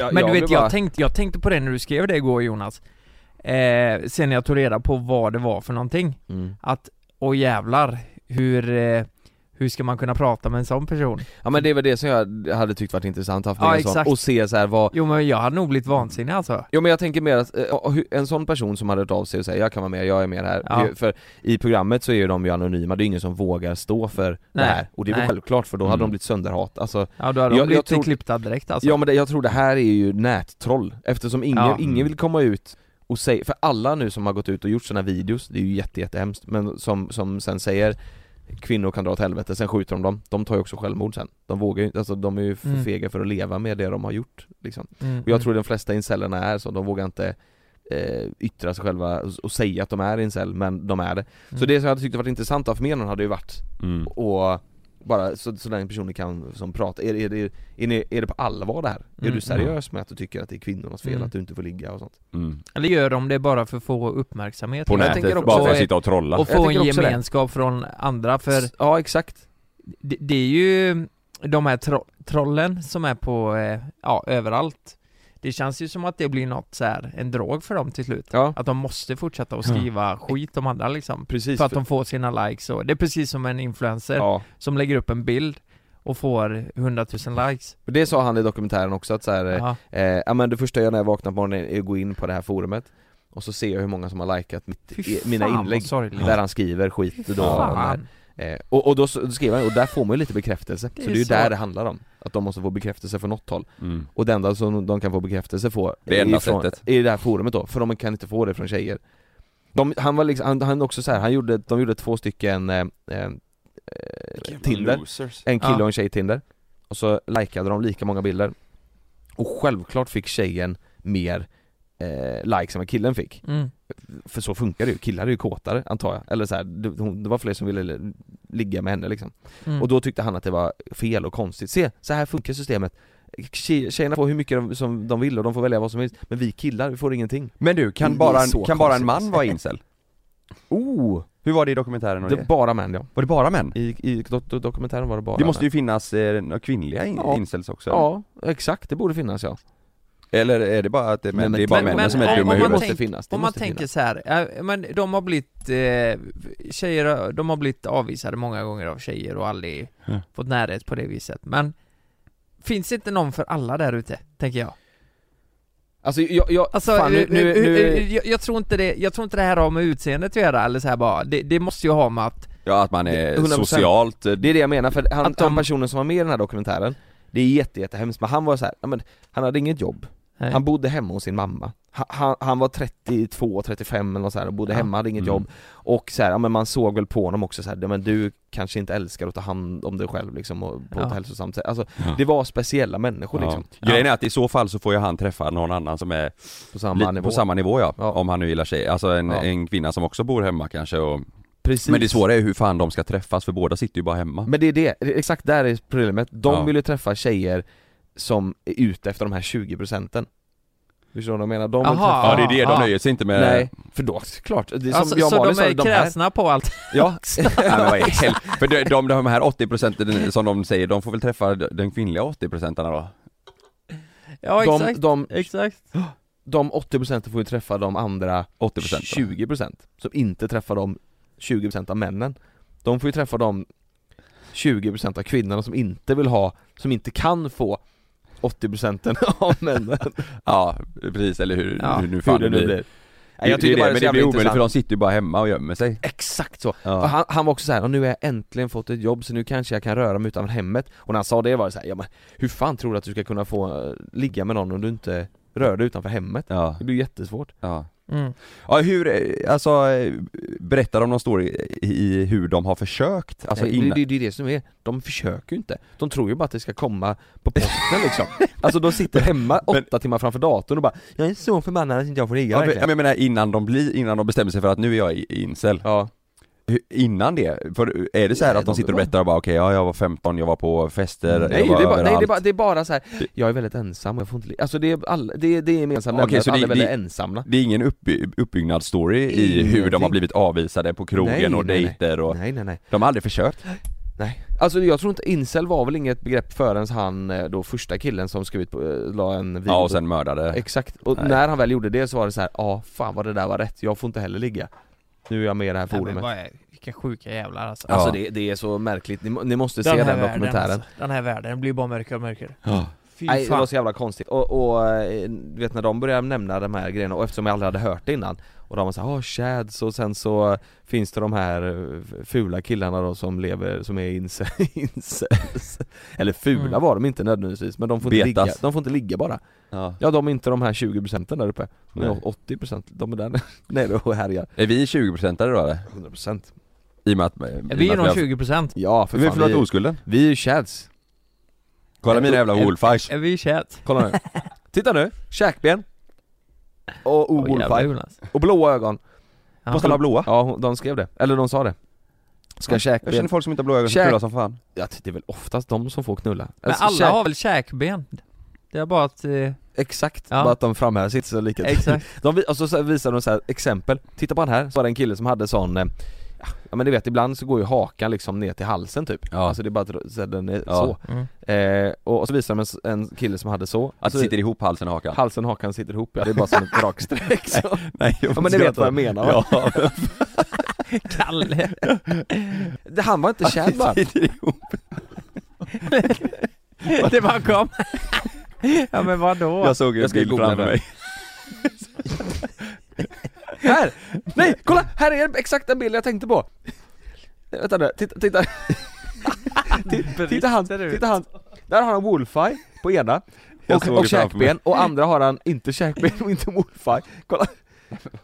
Speaker 2: jag-
Speaker 5: Men du
Speaker 2: blev
Speaker 5: vet,
Speaker 2: bara-
Speaker 5: jag tänkte, jag tänkte på det när du skrev det igår Jonas. Eh, sen när jag tog reda på vad det var för någonting.
Speaker 2: Mm.
Speaker 5: Att, åh jävlar, hur, eh, hur ska man kunna prata med en sån person?
Speaker 2: Ja men det var det som jag hade tyckt varit intressant, haft med
Speaker 5: Ja,
Speaker 2: en sån,
Speaker 5: exakt.
Speaker 2: och se så här vad,
Speaker 5: Jo men jag hade nog blivit vansinnig alltså.
Speaker 2: Jo men jag tänker mer att eh, hu- en sån person som hade hört av sig och säger 'jag kan vara med, jag är med här'
Speaker 5: Ja.
Speaker 2: Det är ju- För i programmet så är ju de ju anonyma, det är ingen som vågar stå för det
Speaker 5: Nej.
Speaker 2: här Och det är väl
Speaker 5: Nej.
Speaker 2: självklart för då hade
Speaker 3: Mm.
Speaker 2: de blivit sönderhat alltså,
Speaker 5: Ja då hade
Speaker 2: Jag-
Speaker 5: de
Speaker 2: jag
Speaker 5: blivit
Speaker 2: tror-
Speaker 5: klippta direkt alltså.
Speaker 2: Ja men det, jag tror det här är ju nättroll Eftersom ingen,
Speaker 5: Ja.
Speaker 2: ingen vill komma ut och säga, för alla nu som har gått ut och gjort såna här videos, det är ju jätte, jättehemskt Men som, som sen säger Kvinnor kan dra åt helvete, sen skjuter de dem, de tar ju också självmord sen De vågar ju inte, alltså de är ju för
Speaker 5: Mm.
Speaker 2: fega för att leva med det de har gjort liksom
Speaker 5: Mm,
Speaker 2: och jag
Speaker 5: mm.
Speaker 2: tror de flesta incellerna är så, de vågar inte eh, yttra sig själva och, och säga att de är incel, men de är det. Så
Speaker 5: Mm.
Speaker 2: det som jag hade tyckt varit intressant av förmedlingen hade ju varit
Speaker 3: Mm.
Speaker 2: och bara så, så den personen kan som prata, är, är, det- är, ni- är det på allvar det här? Är
Speaker 5: Mm,
Speaker 2: du seriös med att du tycker att det är kvinnornas fel
Speaker 5: Mm.
Speaker 2: att du inte får ligga och sånt?
Speaker 3: Mm.
Speaker 5: Eller gör de det bara för att få uppmärksamhet?
Speaker 3: På
Speaker 5: Jag
Speaker 3: nätet,
Speaker 5: tänker
Speaker 3: bara
Speaker 5: också-
Speaker 3: för att sitta och trolla.
Speaker 5: Och
Speaker 2: Jag
Speaker 5: få en
Speaker 2: tänker också det.
Speaker 5: gemenskap från andra för
Speaker 2: S- Ja exakt,
Speaker 5: det, det är ju de här tro, trollen som är på, eh, ja, överallt. Det känns ju som att det blir något så här, en drog för dem till slut.
Speaker 2: ja
Speaker 5: Att de måste fortsätta att skriva skit om andra liksom.
Speaker 2: precis
Speaker 5: För att de får sina likes och, det är precis som en influencer
Speaker 2: ja.
Speaker 5: som lägger upp en bild och får 100 000 likes.
Speaker 2: Och Det sa han i dokumentären också att så här,
Speaker 5: Ja.
Speaker 2: Eh, ja men det första jag gör när jag vaknar på morgonen är att gå in på det här forumet Och så ser jag hur många som har likat mitt,
Speaker 5: Fy
Speaker 2: mina
Speaker 5: fan,
Speaker 2: inlägg
Speaker 5: vad sorgligt.
Speaker 2: Där han skriver skit då och
Speaker 5: Fan.
Speaker 2: där. Eh, och, och då, s- då skriver han, och där får man ju lite bekräftelse.
Speaker 5: Det är
Speaker 2: så det är ju
Speaker 5: så.
Speaker 2: där det handlar om. Att de måste få bekräftelse från något håll.
Speaker 3: Mm.
Speaker 2: Och det enda som de kan få bekräftelse på
Speaker 3: Det enda
Speaker 2: ifrån,
Speaker 3: sättet.
Speaker 2: I det här forumet då, för de kan inte få det från tjejer de, Han var liksom, han, han också så här, han gjorde, de gjorde två stycken eh, eh, Tinder
Speaker 3: Losers.
Speaker 2: En kille
Speaker 5: Ja.
Speaker 2: och en tjej Tinder Och så likade de lika många bilder Och självklart fick tjejen mer eh, likes än vad killen fick
Speaker 5: Mm.
Speaker 2: För så funkar det ju, killar är ju kåtare antar jag Eller så här, det, hon, det var fler som ville li- ligga med henne liksom
Speaker 5: Mm.
Speaker 2: och då tyckte han att det var fel och konstigt. Se, så här funkar systemet. Tje- Tjejerna får hur mycket de, som de vill och de får välja vad som helst, men vi killar, vi får ingenting.
Speaker 3: Men du,
Speaker 6: Det
Speaker 3: kan
Speaker 6: är
Speaker 3: bara en,
Speaker 6: så
Speaker 3: kan bara en
Speaker 6: konstigt.
Speaker 3: man vara
Speaker 5: [laughs]
Speaker 3: incel?
Speaker 2: Oh!
Speaker 3: Hur var det i dokumentären och
Speaker 2: Det
Speaker 3: det?
Speaker 2: är bara män ja.
Speaker 3: Var det bara män?
Speaker 2: I, i do, do, dokumentären var det bara
Speaker 3: Det måste
Speaker 2: män.
Speaker 3: ju finnas eh, några kvinnliga in-
Speaker 2: Ja.
Speaker 3: incels också?
Speaker 2: Ja, exakt, det borde finnas ja.
Speaker 3: Eller är det bara att det är män, det är bara
Speaker 5: men-
Speaker 3: männen
Speaker 5: men-
Speaker 3: som är dumma i
Speaker 5: man
Speaker 2: Det
Speaker 3: huvudet?
Speaker 2: måste finnas, det
Speaker 5: Om man
Speaker 2: måste
Speaker 5: tänker
Speaker 2: finnas.
Speaker 5: så här, eh, men de har blivit, eh, tjejer, de har blivit avvisade många gånger av tjejer och aldrig
Speaker 3: Ja.
Speaker 5: fått närhet på det viset, men finns det inte någon för alla där ute, tänker jag?
Speaker 2: Alltså jag, jag
Speaker 5: Alltså,
Speaker 2: fan, nu,
Speaker 5: eh,
Speaker 2: nu,
Speaker 5: eh, eh,
Speaker 2: nu,
Speaker 5: Jag, jag, tror inte det, jag tror inte det här har med utseendet att göra, eller så här bara, det, det måste ju ha med att,
Speaker 3: Ja, att man är
Speaker 2: 100%.
Speaker 3: socialt... eh,
Speaker 2: det är det jag menar, för han,
Speaker 5: Att de-
Speaker 2: han personen som var med i den här dokumentären Det är jätte, jättehemskt, men han var så här, ja, men, han hade inget jobb
Speaker 5: Nej.
Speaker 2: Han bodde hemma hos sin mamma. Han, han, han var 32, 35 eller något så här och bodde
Speaker 5: Ja.
Speaker 2: hemma, hade inget
Speaker 3: Mm.
Speaker 2: jobb. Och så här, ja, men man såg väl på honom också så här, ja, men du kanske inte älskar att ta hand om dig själv liksom och på
Speaker 5: Ja.
Speaker 2: ett hälsosamt sätt. Alltså,
Speaker 3: Ja.
Speaker 2: det var speciella människor liksom.
Speaker 3: Ja. Grejen är att i så fall så får ju han träffa någon annan som är
Speaker 2: På samma
Speaker 3: lite
Speaker 2: nivå.
Speaker 3: på samma nivå ja,
Speaker 2: Ja.
Speaker 3: om han nu gillar tjejer. Alltså en,
Speaker 2: Ja.
Speaker 3: en kvinna som också bor hemma kanske och...
Speaker 2: Precis.
Speaker 3: Men det svåra är ju hur fan de ska träffas för båda sitter ju bara hemma.
Speaker 2: Men det är det, det är exakt där är problemet. De
Speaker 3: Ja.
Speaker 2: vill ju träffa tjejer som är ute efter de här 20 procenten. Förstår du vad jag menar? De vill
Speaker 5: Aha.
Speaker 2: träffa...
Speaker 3: ja det är det, de
Speaker 5: Ja.
Speaker 3: nöjer sig inte med...
Speaker 2: Nej, Eh, för då, klart. Det är som
Speaker 5: alltså,
Speaker 2: jag och
Speaker 5: så
Speaker 2: Malin
Speaker 5: de
Speaker 2: sa,
Speaker 5: är
Speaker 2: de här
Speaker 5: kräsna på allt. [laughs]
Speaker 2: [laughs] Ja,
Speaker 3: [laughs] Nej, men vad i hel- För de, de, de här 80 procenten som de säger, de får väl träffa den kvinnliga 80 procenten då?
Speaker 5: ja,
Speaker 2: de,
Speaker 5: exakt.
Speaker 2: de,
Speaker 5: Exakt.
Speaker 2: de 80% får ju träffa de andra
Speaker 3: 80 procent
Speaker 2: 20% som inte träffar de 20% av männen. De får ju träffa de 20% av kvinnorna som inte vill ha, som inte kan få 80% av männen.
Speaker 3: Ja, precis, eller hur,
Speaker 5: Ja,
Speaker 3: [laughs] hur nu
Speaker 2: Hur
Speaker 3: fan
Speaker 2: det nu blir.
Speaker 3: Det,
Speaker 2: Nej, jag tycker
Speaker 3: det,
Speaker 2: bara
Speaker 3: är
Speaker 2: det
Speaker 3: det,
Speaker 2: är så
Speaker 3: men det
Speaker 2: jävla
Speaker 3: blir omöjligt för
Speaker 2: intressant.
Speaker 3: de sitter ju bara hemma och gömmer sig.
Speaker 2: Exakt så. Och
Speaker 3: Ja.
Speaker 2: Han, han var också så här, "Och nu är jag äntligen fått ett jobb så nu kanske jag kan röra mig utanför hemmet. Och när han sa det var det så här, ja men hur fan tror du att du ska kunna få eh, ligga med någon om du inte rör dig utanför hemmet?
Speaker 3: Ja,
Speaker 2: Det blir jättesvårt.
Speaker 3: ja.
Speaker 5: Mm.
Speaker 3: ja, hur, eh, alltså eh, berättar de någon story i, i hur de har försökt? Alltså
Speaker 2: Nej,
Speaker 3: innan,
Speaker 2: det, det, det är det som är, de försöker ju inte. De tror ju bara att det ska komma på posten
Speaker 3: [laughs]
Speaker 2: liksom. Alltså de sitter hemma åtta timmar framför datorn och bara 'Jag är så förbannad att alltså, inte jag får ligga
Speaker 3: ja, men,
Speaker 2: verkligen'
Speaker 3: jag menar innan de blir, innan de bestämmer sig för att nu är jag i- incel.
Speaker 2: Ja,
Speaker 3: Hur- Innan det, för är det så här
Speaker 2: Nej,
Speaker 3: att de
Speaker 2: de-
Speaker 3: sitter och berättar och bara okej, ja, jag var 15, jag var på fester,
Speaker 2: nej,
Speaker 3: jag
Speaker 2: det
Speaker 3: var
Speaker 2: är bara, nej det, är
Speaker 3: överallt.
Speaker 2: bara, det är bara så här. jag är väldigt ensam och jag får inte ligga. Alltså det är, all, det är, det är gemensamt
Speaker 3: Okej,
Speaker 2: nämnare att
Speaker 3: så det-
Speaker 2: alla är väldigt
Speaker 3: det-
Speaker 2: ensamma.
Speaker 3: Det är ingen upp, uppbyggnadsstory i hur de har
Speaker 2: Ingenting.
Speaker 3: blivit avvisade på krogen
Speaker 2: Nej,
Speaker 3: och
Speaker 2: nej, nej.
Speaker 3: dejter och...
Speaker 2: Nej nej nej,
Speaker 3: De har aldrig försökt.
Speaker 2: nej. Alltså jag tror inte, incel var väl inget begrepp förrän han eh, då första killen som skrev ut på, eh, la en video
Speaker 3: Ja, och sen mördade.
Speaker 2: Exakt, och
Speaker 3: Nej.
Speaker 2: när han väl gjorde det så var det så här, ja fan vad det där var rätt, jag får inte heller ligga Nu är jag med i det här
Speaker 5: Nej,
Speaker 2: forumet
Speaker 5: men vad är, vilka sjuka jävlar alltså.
Speaker 3: Ja.
Speaker 2: Alltså det, det är så märkligt, ni, må- ni måste se
Speaker 5: här
Speaker 2: den,
Speaker 5: världen,
Speaker 2: dokumentären
Speaker 5: alltså. Den här världen blir bara mörkare och mörkare.
Speaker 3: Ja.
Speaker 5: Fy
Speaker 2: Nej det
Speaker 5: fan.
Speaker 2: var så jävla konstigt, och, och eh, du vet när de började nämna de här grejerna, och eftersom jag aldrig hade hört det innan Och de var såhär, ah shads, och sen så finns det de här eh, fula killarna då som lever, som är inse, [laughs] incels Eller fula
Speaker 5: Mm.
Speaker 2: var de inte nödvändigtvis, men de får inte,
Speaker 3: Betas.
Speaker 2: ligga, de får inte ligga bara
Speaker 3: Ja.
Speaker 2: Ja de är inte de här 20% där uppe, de
Speaker 3: Nej.
Speaker 2: är 80% de är [laughs] där nere och härjar
Speaker 3: Är vi 20% då eller?
Speaker 2: 100%
Speaker 3: I och med att...
Speaker 5: Ja, vi är nog
Speaker 3: nog
Speaker 5: 20%.
Speaker 2: Ja för
Speaker 3: Vi har
Speaker 2: fan,
Speaker 3: förlorat
Speaker 2: vi,
Speaker 3: oskulden.
Speaker 2: vi är ju chads
Speaker 3: Kolla mina jävla wolfies.
Speaker 5: Är vi i chat?
Speaker 2: Kolla
Speaker 5: [laughs]
Speaker 2: nu. Titta nu, käkben. Och
Speaker 5: Åh, jävla
Speaker 2: obullfight.
Speaker 5: Jonas.
Speaker 2: Och blåa ögon.
Speaker 5: Ja.
Speaker 3: Måste alla ha blåa?
Speaker 2: Ja, hon- de skrev det. Eller de sa det. Ska
Speaker 3: Jag känner
Speaker 2: käkben...
Speaker 3: folk som inte har blå ögon som
Speaker 2: Käk.
Speaker 3: knullar som fan.
Speaker 2: Ja, det är väl oftast de som får knulla.
Speaker 5: Men
Speaker 2: Alltså,
Speaker 5: alla
Speaker 2: käk-
Speaker 5: har väl käkben? Det är bara
Speaker 2: [laughs]
Speaker 5: att... Eh,
Speaker 2: Exakt,
Speaker 5: Ja.
Speaker 2: bara att de framhäver sitt så lika.
Speaker 5: exakt.
Speaker 2: [laughs] De, vi- och så- så visar de så här exempel. Titta på han här, så var det en kille som hade sån... eh, Ja men du vet, ibland så går ju hakan liksom ner till halsen typ.
Speaker 3: Ja.
Speaker 2: Alltså det är bara att så här, den är
Speaker 3: Ja.
Speaker 2: så.
Speaker 5: Mm.
Speaker 2: Eh, och, och så visar de en, s- en kille som hade så.
Speaker 3: Att det
Speaker 2: Alltså,
Speaker 3: sitter ihop halsen och hakan.
Speaker 2: Halsen och hakan sitter ihop ja, det är bara [laughs] som ett rakt streck så.
Speaker 3: Nej, jag
Speaker 2: Ja men ni vet vad jag menar va?
Speaker 3: Ja,
Speaker 5: Kalle.
Speaker 2: Det- Han var inte känd
Speaker 3: [laughs]
Speaker 2: va?
Speaker 3: sitter ihop.
Speaker 5: det bara kom. ja men vadå?
Speaker 3: Jag såg en
Speaker 2: Jag ska
Speaker 3: bild
Speaker 2: googla
Speaker 3: framför
Speaker 2: det.
Speaker 3: mig.
Speaker 2: Här! Nej, kolla! Här är exakt den bild jag tänkte på! Nej, Vänta nu, titta, titta Titta- Titta han,
Speaker 5: Bryter ut.
Speaker 2: titta han Där har han Wolfie på ena
Speaker 3: Jag
Speaker 2: och,
Speaker 3: såg
Speaker 2: och
Speaker 3: det framför mig.
Speaker 2: käkben, och andra har han inte käkben och inte Wolfie Kolla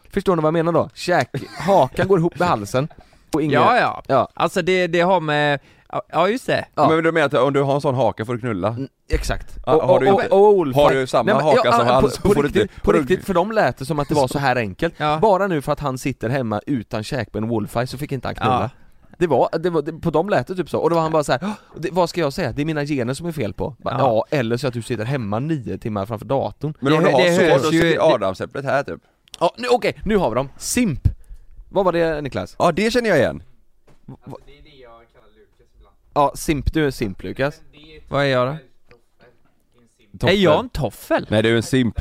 Speaker 2: Förstår ni vad jag menar då? Käk, hakan går ihop med halsen och ingen...
Speaker 5: Ja, ja.
Speaker 2: Ja.
Speaker 5: Alltså det, det har med, ja just det.
Speaker 2: Ja.
Speaker 3: Men du menar att om du har en sån haka får du knulla?
Speaker 2: Mm, Exakt.
Speaker 3: Ja,
Speaker 2: Och-
Speaker 3: har
Speaker 2: och-
Speaker 3: du inte-
Speaker 2: och- och Wolfie-
Speaker 3: har du samma
Speaker 2: men-
Speaker 3: haka som han
Speaker 2: på,
Speaker 3: så
Speaker 2: på,
Speaker 3: får du inte-
Speaker 2: riktigt, på
Speaker 3: får du-
Speaker 2: riktigt, för de lät det som att det var så här enkelt.
Speaker 5: Ja.
Speaker 2: Bara nu för att han sitter hemma utan käkben och Wolfie så fick inte han knulla. Det var, det var, det, på dem lät det typ så, och då var han bara så här, "Åh, det, vad ska jag säga? Det är mina gener som är fel på? Bara, ja.
Speaker 5: Ja.
Speaker 2: eller så att du sitter hemma nio timmar framför datorn
Speaker 3: Men om
Speaker 5: Det-
Speaker 3: du har
Speaker 5: det
Speaker 3: så,
Speaker 5: hörs
Speaker 3: då
Speaker 5: ju-
Speaker 3: sitter adamsäpplet här typ
Speaker 2: Ja, nu, okej, nu har vi dem! Simp! Vad var det Niklas?
Speaker 3: Ja det känner jag igen!
Speaker 2: Ja, simp, du är simp [laughs] Lukas
Speaker 5: Vad är jag då? Är jag en toffel?
Speaker 3: Nej du är en simp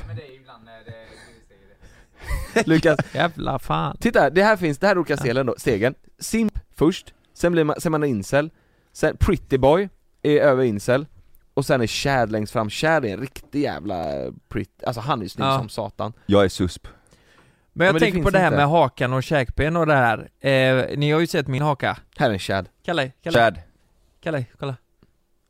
Speaker 2: Lukas,
Speaker 5: Jävla fan.
Speaker 2: titta, det här finns, det här är olika stegen då, stegen Simp först, sen blir man, sen man är incel Sen pretty boy, är över incel Och sen är Chad längst fram, Chad är en riktig jävla pretty, alltså han är ju snygg
Speaker 5: Ja.
Speaker 2: som satan
Speaker 3: Jag är susp
Speaker 5: Men jag
Speaker 2: Men det
Speaker 5: tänker på
Speaker 2: finns
Speaker 5: det här
Speaker 2: inte.
Speaker 5: med hakan och käkben och det här. Eh, ni har ju sett min haka.
Speaker 2: Här är en Chad
Speaker 5: Kalle, Kalle,
Speaker 3: Chad
Speaker 5: Kalle, kolla.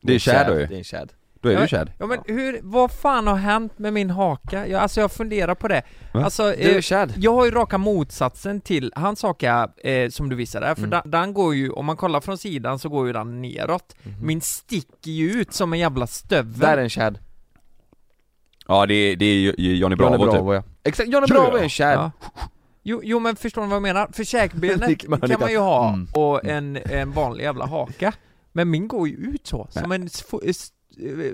Speaker 3: Det är Chad då
Speaker 2: Det
Speaker 3: ju,
Speaker 2: är en Chad
Speaker 3: då är
Speaker 5: Ja,
Speaker 3: du Chad
Speaker 5: Ja men hur, vad fan har hänt med min haka? Jag, alltså jag funderar på det.
Speaker 3: Va?
Speaker 5: Alltså,
Speaker 2: Du är
Speaker 5: eh,
Speaker 2: Chad
Speaker 5: jag har ju raka motsatsen till hans haka eh, som du visade, för
Speaker 2: Mm.
Speaker 5: den, den går ju, om man kollar från sidan så går ju den neråt. Min sticker ju ut som en jävla stövel.
Speaker 2: Mhm. Där är en Chad
Speaker 3: Ja det är, det är ju- ju Johnny Bravo,
Speaker 2: Johnny
Speaker 3: typ
Speaker 2: Bravo ja Exakt, Johnny Bravo är en Chad
Speaker 5: Ja. Jo, jo men förstår ni vad jag menar?
Speaker 2: [laughs]
Speaker 5: För käkbenet
Speaker 2: Nick- man har
Speaker 5: kan man ju ha
Speaker 2: Mm.
Speaker 5: och en, en vanlig jävla haka Men min går ju ut så, som en sf- st- eh,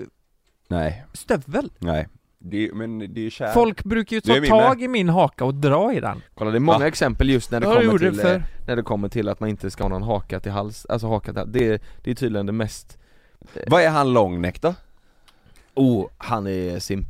Speaker 3: Nej,
Speaker 5: stövel
Speaker 3: nej det, är- Men det är Chad
Speaker 5: Folk brukar ju
Speaker 3: Det är
Speaker 5: ta
Speaker 3: min
Speaker 5: tag i min haka och dra i den
Speaker 2: Kolla det är många
Speaker 3: Va?
Speaker 2: exempel just när det,
Speaker 5: Ja, jag
Speaker 2: kommer
Speaker 5: gjorde
Speaker 2: till,
Speaker 5: det
Speaker 2: eh, när det kommer till att man inte ska ha någon haka till hals, alltså haka till, det, är- det är tydligen det mest
Speaker 3: Vad är han Långnäck då?
Speaker 2: Oh, han är simp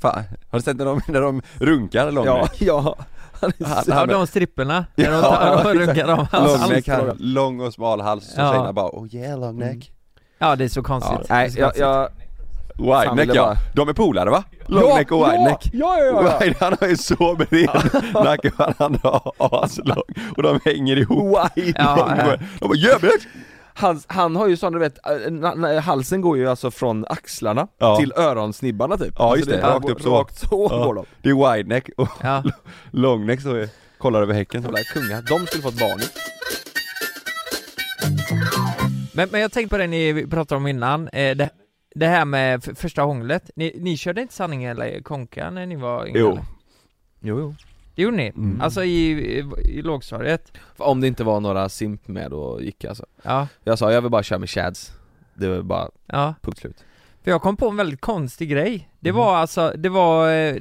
Speaker 3: Fan, har du sett när de, [laughs] när de runkar Långnäck?
Speaker 2: ja, han är
Speaker 3: Han-
Speaker 2: simp.
Speaker 5: Ja
Speaker 3: han-
Speaker 5: de stripporna,
Speaker 3: Ja,
Speaker 5: när de tar och
Speaker 3: exakt.
Speaker 5: runkar om hans hals
Speaker 3: Långnäck, han, [laughs] lång och smal hals, så
Speaker 5: Ja.
Speaker 3: tjejerna bara 'Oh yeah långnäck'
Speaker 5: Ja det är så
Speaker 2: ja.
Speaker 5: konstigt
Speaker 2: Nej, jag, jag, Fan,
Speaker 3: Whitenäck
Speaker 2: vill jag
Speaker 3: ja,
Speaker 2: bara-
Speaker 3: de är polare va? Långnäck och whitenäck
Speaker 2: Ja, ja, ja,
Speaker 3: Wine, han har ju så bred nacke och han har aslång och de hänger ihop Wine,
Speaker 5: Ja, ja.
Speaker 3: De bara 'Jävlar!'
Speaker 2: Han, han har ju sån, du vet, eh, na- na- halsen går ju alltså från axlarna
Speaker 3: Ja.
Speaker 2: till öronsnibbarna typ
Speaker 3: Ja, just det.
Speaker 2: är-
Speaker 3: Rakt upp så.
Speaker 2: Rakt så
Speaker 3: Ja.
Speaker 2: går de
Speaker 3: Det är wideneck och
Speaker 5: Ja.
Speaker 3: långneck som är- kollar över häcken så
Speaker 2: Jävla kungar, de skulle fått barn
Speaker 5: Men, men jag tänkte på det ni pratade om innan, eh, det, det här med f- första hånglet ni, ni körde inte sanning eller konka när ni var yngre?
Speaker 3: Jo.
Speaker 5: eller?
Speaker 2: Jo, jo
Speaker 5: Det gjorde ni?
Speaker 3: Mm.
Speaker 5: Alltså i, i, i lågstadiet?
Speaker 2: Om det inte var några simp med då gick jag alltså
Speaker 5: Ja,
Speaker 2: Jag sa, jag vill bara köra med chads Det var bara,
Speaker 5: ja.
Speaker 2: punkt slut
Speaker 5: För jag kom på en väldigt konstig grej. Det
Speaker 3: Mm.
Speaker 5: var alltså, det var... eh,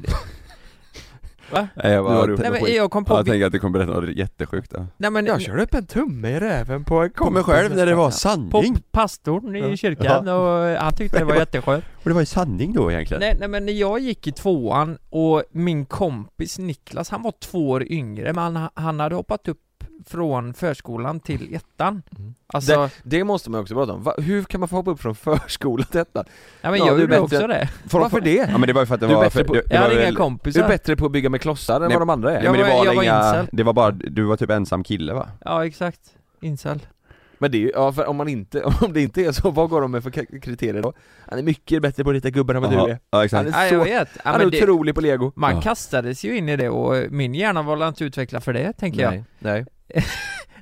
Speaker 3: Nej jag
Speaker 2: Du har
Speaker 3: bara,
Speaker 2: du-
Speaker 5: nej men
Speaker 2: skit.
Speaker 5: jag kom på...
Speaker 3: Ja, jag tänker att du kommer berätta något jättesjukt ja.
Speaker 5: nej men...
Speaker 2: Jag körde upp en tumme i räven på en kompis
Speaker 3: var
Speaker 5: På
Speaker 3: sanning
Speaker 5: pastorn i kyrkan
Speaker 3: [laughs] Ja.
Speaker 5: och eh, han tyckte det var jätteskönt.
Speaker 3: Och det var ju sanning då egentligen
Speaker 5: Nej, nej men när jag gick i tvåan och min kompis Niklas, han var två år yngre men han, han hade hoppat upp från förskolan till ettan.
Speaker 2: Mm.
Speaker 5: Alltså,
Speaker 2: Det måste man också prata om, Va, hur kan man få hoppa upp från [laughs] förskolan till ettan?
Speaker 5: ja men
Speaker 2: ja,
Speaker 5: jag
Speaker 2: du är
Speaker 5: gjorde
Speaker 2: bättre.
Speaker 5: också det.
Speaker 2: Varför det?
Speaker 3: Ja men det var ju för att det
Speaker 2: Du är
Speaker 3: var,
Speaker 2: bättre
Speaker 3: för,
Speaker 2: på-
Speaker 3: det, det
Speaker 5: Jag
Speaker 3: var
Speaker 5: hade inga
Speaker 3: väl-
Speaker 2: Du är
Speaker 5: kompisar.
Speaker 2: bättre på att bygga med klossar än
Speaker 3: Nej.
Speaker 2: vad de andra är
Speaker 3: Nej men det
Speaker 5: Jag var-
Speaker 3: var,
Speaker 5: jag var
Speaker 3: inga,
Speaker 5: incel.
Speaker 3: det var bara, du var typ ensam kille va?
Speaker 5: Ja exakt. Incel.
Speaker 2: Men det är ju, ja för om man inte, [laughs] om det inte är så, vad går de med för k- kriterier då? Han är mycket bättre på att rita gubbar än vad du
Speaker 3: Ja,
Speaker 2: är
Speaker 3: ja exakt
Speaker 2: Han är
Speaker 5: Ja,
Speaker 2: så-
Speaker 5: jag vet. Ja,
Speaker 2: Han är
Speaker 5: men det,
Speaker 2: otrolig på lego
Speaker 5: man
Speaker 3: Ja.
Speaker 5: kastades ju in i det och min hjärna var väl inte utvecklad för det, tänker jag.
Speaker 2: Nej, nej
Speaker 5: [laughs]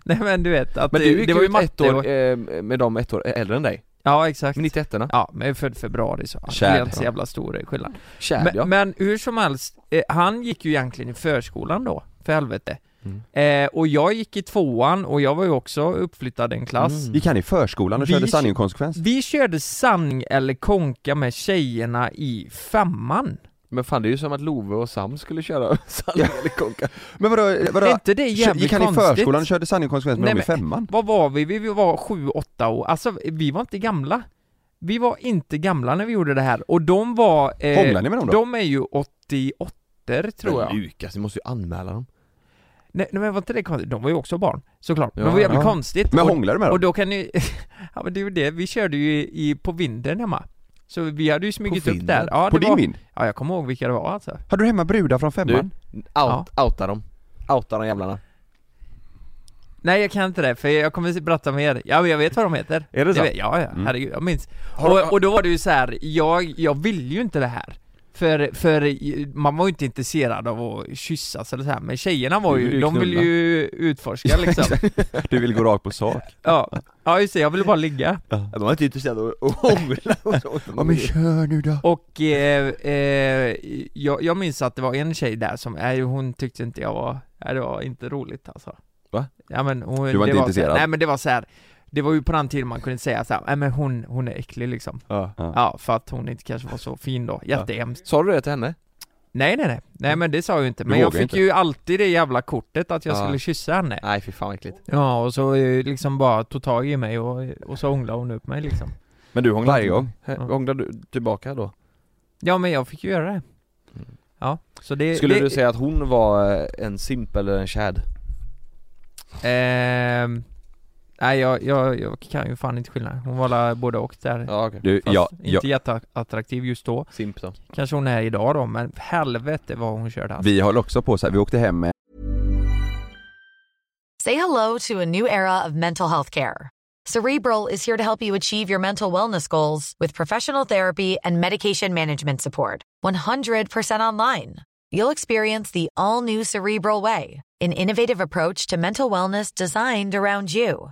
Speaker 5: Nej men du vet att
Speaker 2: Men
Speaker 5: det,
Speaker 2: du gick
Speaker 5: det var ju
Speaker 2: ut
Speaker 5: matte
Speaker 2: ett år
Speaker 5: och,
Speaker 2: eh, med dem ett år äldre än dig,
Speaker 5: Ja exakt
Speaker 2: med 91 erna
Speaker 5: Ja, men jag är född februari så det
Speaker 3: Kär.
Speaker 5: är inte så jävla stor skillnad
Speaker 2: Chad ja
Speaker 5: men, men hur som helst, eh, han gick ju egentligen i förskolan då, för helvete
Speaker 2: Mm.
Speaker 5: eh, Och jag gick i tvåan och jag var ju också uppflyttad en klass
Speaker 2: Mm.
Speaker 3: Gick han i förskolan och
Speaker 5: Vi-
Speaker 3: körde sanning och konsekvens?
Speaker 5: Vi körde sanning eller konka med tjejerna i femman
Speaker 2: Men fan det är ju som att Love och Sam skulle köra [laughs] Sanne eller Konka
Speaker 3: Men vadå,
Speaker 5: Är
Speaker 3: vadå
Speaker 5: inte det jävligt
Speaker 3: gick han i
Speaker 5: konstigt?
Speaker 3: förskolan och körde sanning och konsekvens med
Speaker 5: Nej,
Speaker 3: dem i femman?
Speaker 5: Vad var vi? Vi var sju, åtta år, alltså vi var inte gamla Vi var inte gamla när vi gjorde det här och de var... eh,
Speaker 3: Hånglade ni med dem då?
Speaker 5: De är ju 88 tror jag
Speaker 2: Lukas, du måste ju anmäla dem
Speaker 5: Nej, nej men var inte det konstigt? De var ju också barn, såklart.
Speaker 2: Ja,
Speaker 5: men det var jävligt
Speaker 3: ja.
Speaker 5: konstigt.
Speaker 3: Men
Speaker 5: och,
Speaker 3: hånglade du med
Speaker 5: och
Speaker 3: dem?
Speaker 5: då kan ni... [laughs] ja men det är ju det, vi körde ju i, på vinden hemma. Så vi hade ju smugit upp
Speaker 2: vinden?
Speaker 5: där. Ja,
Speaker 3: På
Speaker 5: det
Speaker 3: din
Speaker 5: var,
Speaker 3: vind?
Speaker 5: Ja jag kommer ihåg vilka det var alltså.
Speaker 3: Hade du hemma brudar från femman?
Speaker 2: Out, outa dem, outa de jävlarna
Speaker 5: Nej jag kan inte det, för jag kommer berätta mer. Ja men jag vet vad de heter.
Speaker 2: Är det så?
Speaker 5: Jag vet, ja, ja,
Speaker 3: Mm.
Speaker 5: herregud, jag minns.
Speaker 3: Har-
Speaker 5: Och, och då var det ju så här, jag, jag ville ju inte det här. För, för man var ju inte intresserad av att kyssas eller så här. men tjejerna var
Speaker 3: Du ville
Speaker 5: ju,
Speaker 3: ju
Speaker 5: de ville
Speaker 3: knulla.
Speaker 5: ju utforska
Speaker 3: [laughs]
Speaker 5: liksom.
Speaker 3: [laughs] Du vill gå rakt på sak.
Speaker 5: ja. ja just det, jag ville bara ligga.
Speaker 2: De var inte intresserade av att hångla och så.
Speaker 3: kör nu då.
Speaker 5: Och eh, eh, jag, jag minns att det var en tjej där som, nej hon tyckte inte jag var, nej det var inte roligt alltså
Speaker 3: Va?
Speaker 5: Ja men hon,
Speaker 3: Du var inte
Speaker 5: det så här-
Speaker 3: intresserad?
Speaker 5: Nej men det var så här. det var ju på den tiden man kunde säga så här, nej men hon, hon är äcklig liksom
Speaker 2: Ja.
Speaker 5: ja. för att hon inte kanske var så fin då, jättehemskt
Speaker 2: Sa du det till henne?
Speaker 5: Nej nej nej, nej men det sa jag ju inte,
Speaker 3: Mm. Du
Speaker 5: men jag
Speaker 3: vågar
Speaker 5: fick
Speaker 3: inte.
Speaker 5: ju alltid det jävla kortet att jag
Speaker 2: Ja.
Speaker 5: skulle kyssa henne
Speaker 2: Nej fy fan vad äckligt.
Speaker 5: Ja och så eh, liksom bara tog tag i mig och, och så ånglade hon upp mig liksom
Speaker 3: Men du hånglade
Speaker 2: Varje
Speaker 3: inte?
Speaker 2: gång.
Speaker 5: Ja.
Speaker 2: Hånglade du tillbaka då?
Speaker 5: Ja men jag fick ju göra det
Speaker 3: Mm.
Speaker 5: Ja, så det
Speaker 2: Skulle
Speaker 5: det,
Speaker 2: du säga att hon var eh, en simp eller en chad?
Speaker 5: Ehm, nej jag, jag, jag kan ju fan inte skillnad. Hon var la både och där.
Speaker 2: Ja okej.
Speaker 3: Du,
Speaker 5: Fast
Speaker 3: ja, ja,
Speaker 5: inte jätteattraktiv just då.
Speaker 2: Simp då.
Speaker 5: Kanske hon är idag då, men helvete vad hon körde alltså.
Speaker 3: vi höll också på så här, vi åkte hem med
Speaker 6: Say hello to a new era of mental health care. Cerebral is here to help you achieve your mental wellness goals with professional therapy and medication management support. 100% online. You'll experience the all new Cerebral Way, an innovative approach to mental wellness designed around you.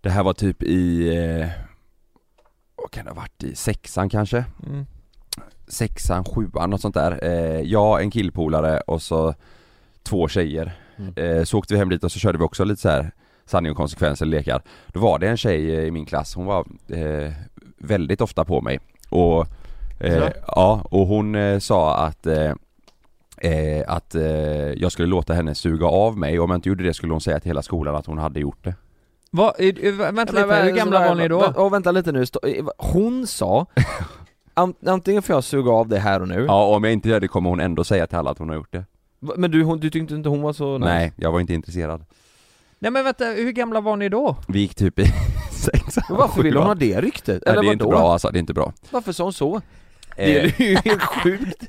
Speaker 3: Det här var typ i, eh, vad kan det ha varit i, sexan kanske?
Speaker 5: Mm.
Speaker 3: Sexan, sjuan, något sånt där. Eh, jag, en killpolare och så två tjejer.
Speaker 2: Mm.
Speaker 3: Eh, så åkte vi hem dit och så körde vi också lite så här sanning och konsekvenser lekar. Då var det en tjej eh, i min klass, hon var eh, väldigt ofta på mig. Och, eh,
Speaker 5: Så?
Speaker 3: ja, och hon eh, sa att eh, eh, att eh, jag skulle låta henne suga av mig och om jag inte gjorde det skulle hon säga till hela skolan att hon hade gjort det.
Speaker 5: Vad, eh, eh, vänta lite, hur gamla var ni då?
Speaker 2: Och vänta lite nu, stå- eh, hon
Speaker 3: [laughs]
Speaker 2: sa Ant- Antingen får jag suga av det här och nu,
Speaker 3: Ja, och om jag inte gör det kommer hon ändå säga till alla att hon har gjort det.
Speaker 2: Va- men du, hon, du tyckte inte hon var så nice?
Speaker 3: Nej, jag var inte intresserad.
Speaker 5: Nej men vänta, hur gamla var ni [laughs] då?
Speaker 3: Vi gick typ i [laughs] sexan.
Speaker 2: Men varför vill hon ha
Speaker 3: sjuan.
Speaker 2: det ryktet? Eller
Speaker 3: Nej, det är
Speaker 2: vadå?
Speaker 3: inte bra alltså, det är inte bra.
Speaker 2: Varför sa hon så? Det
Speaker 3: [laughs] Eh,
Speaker 2: är ju helt sjukt!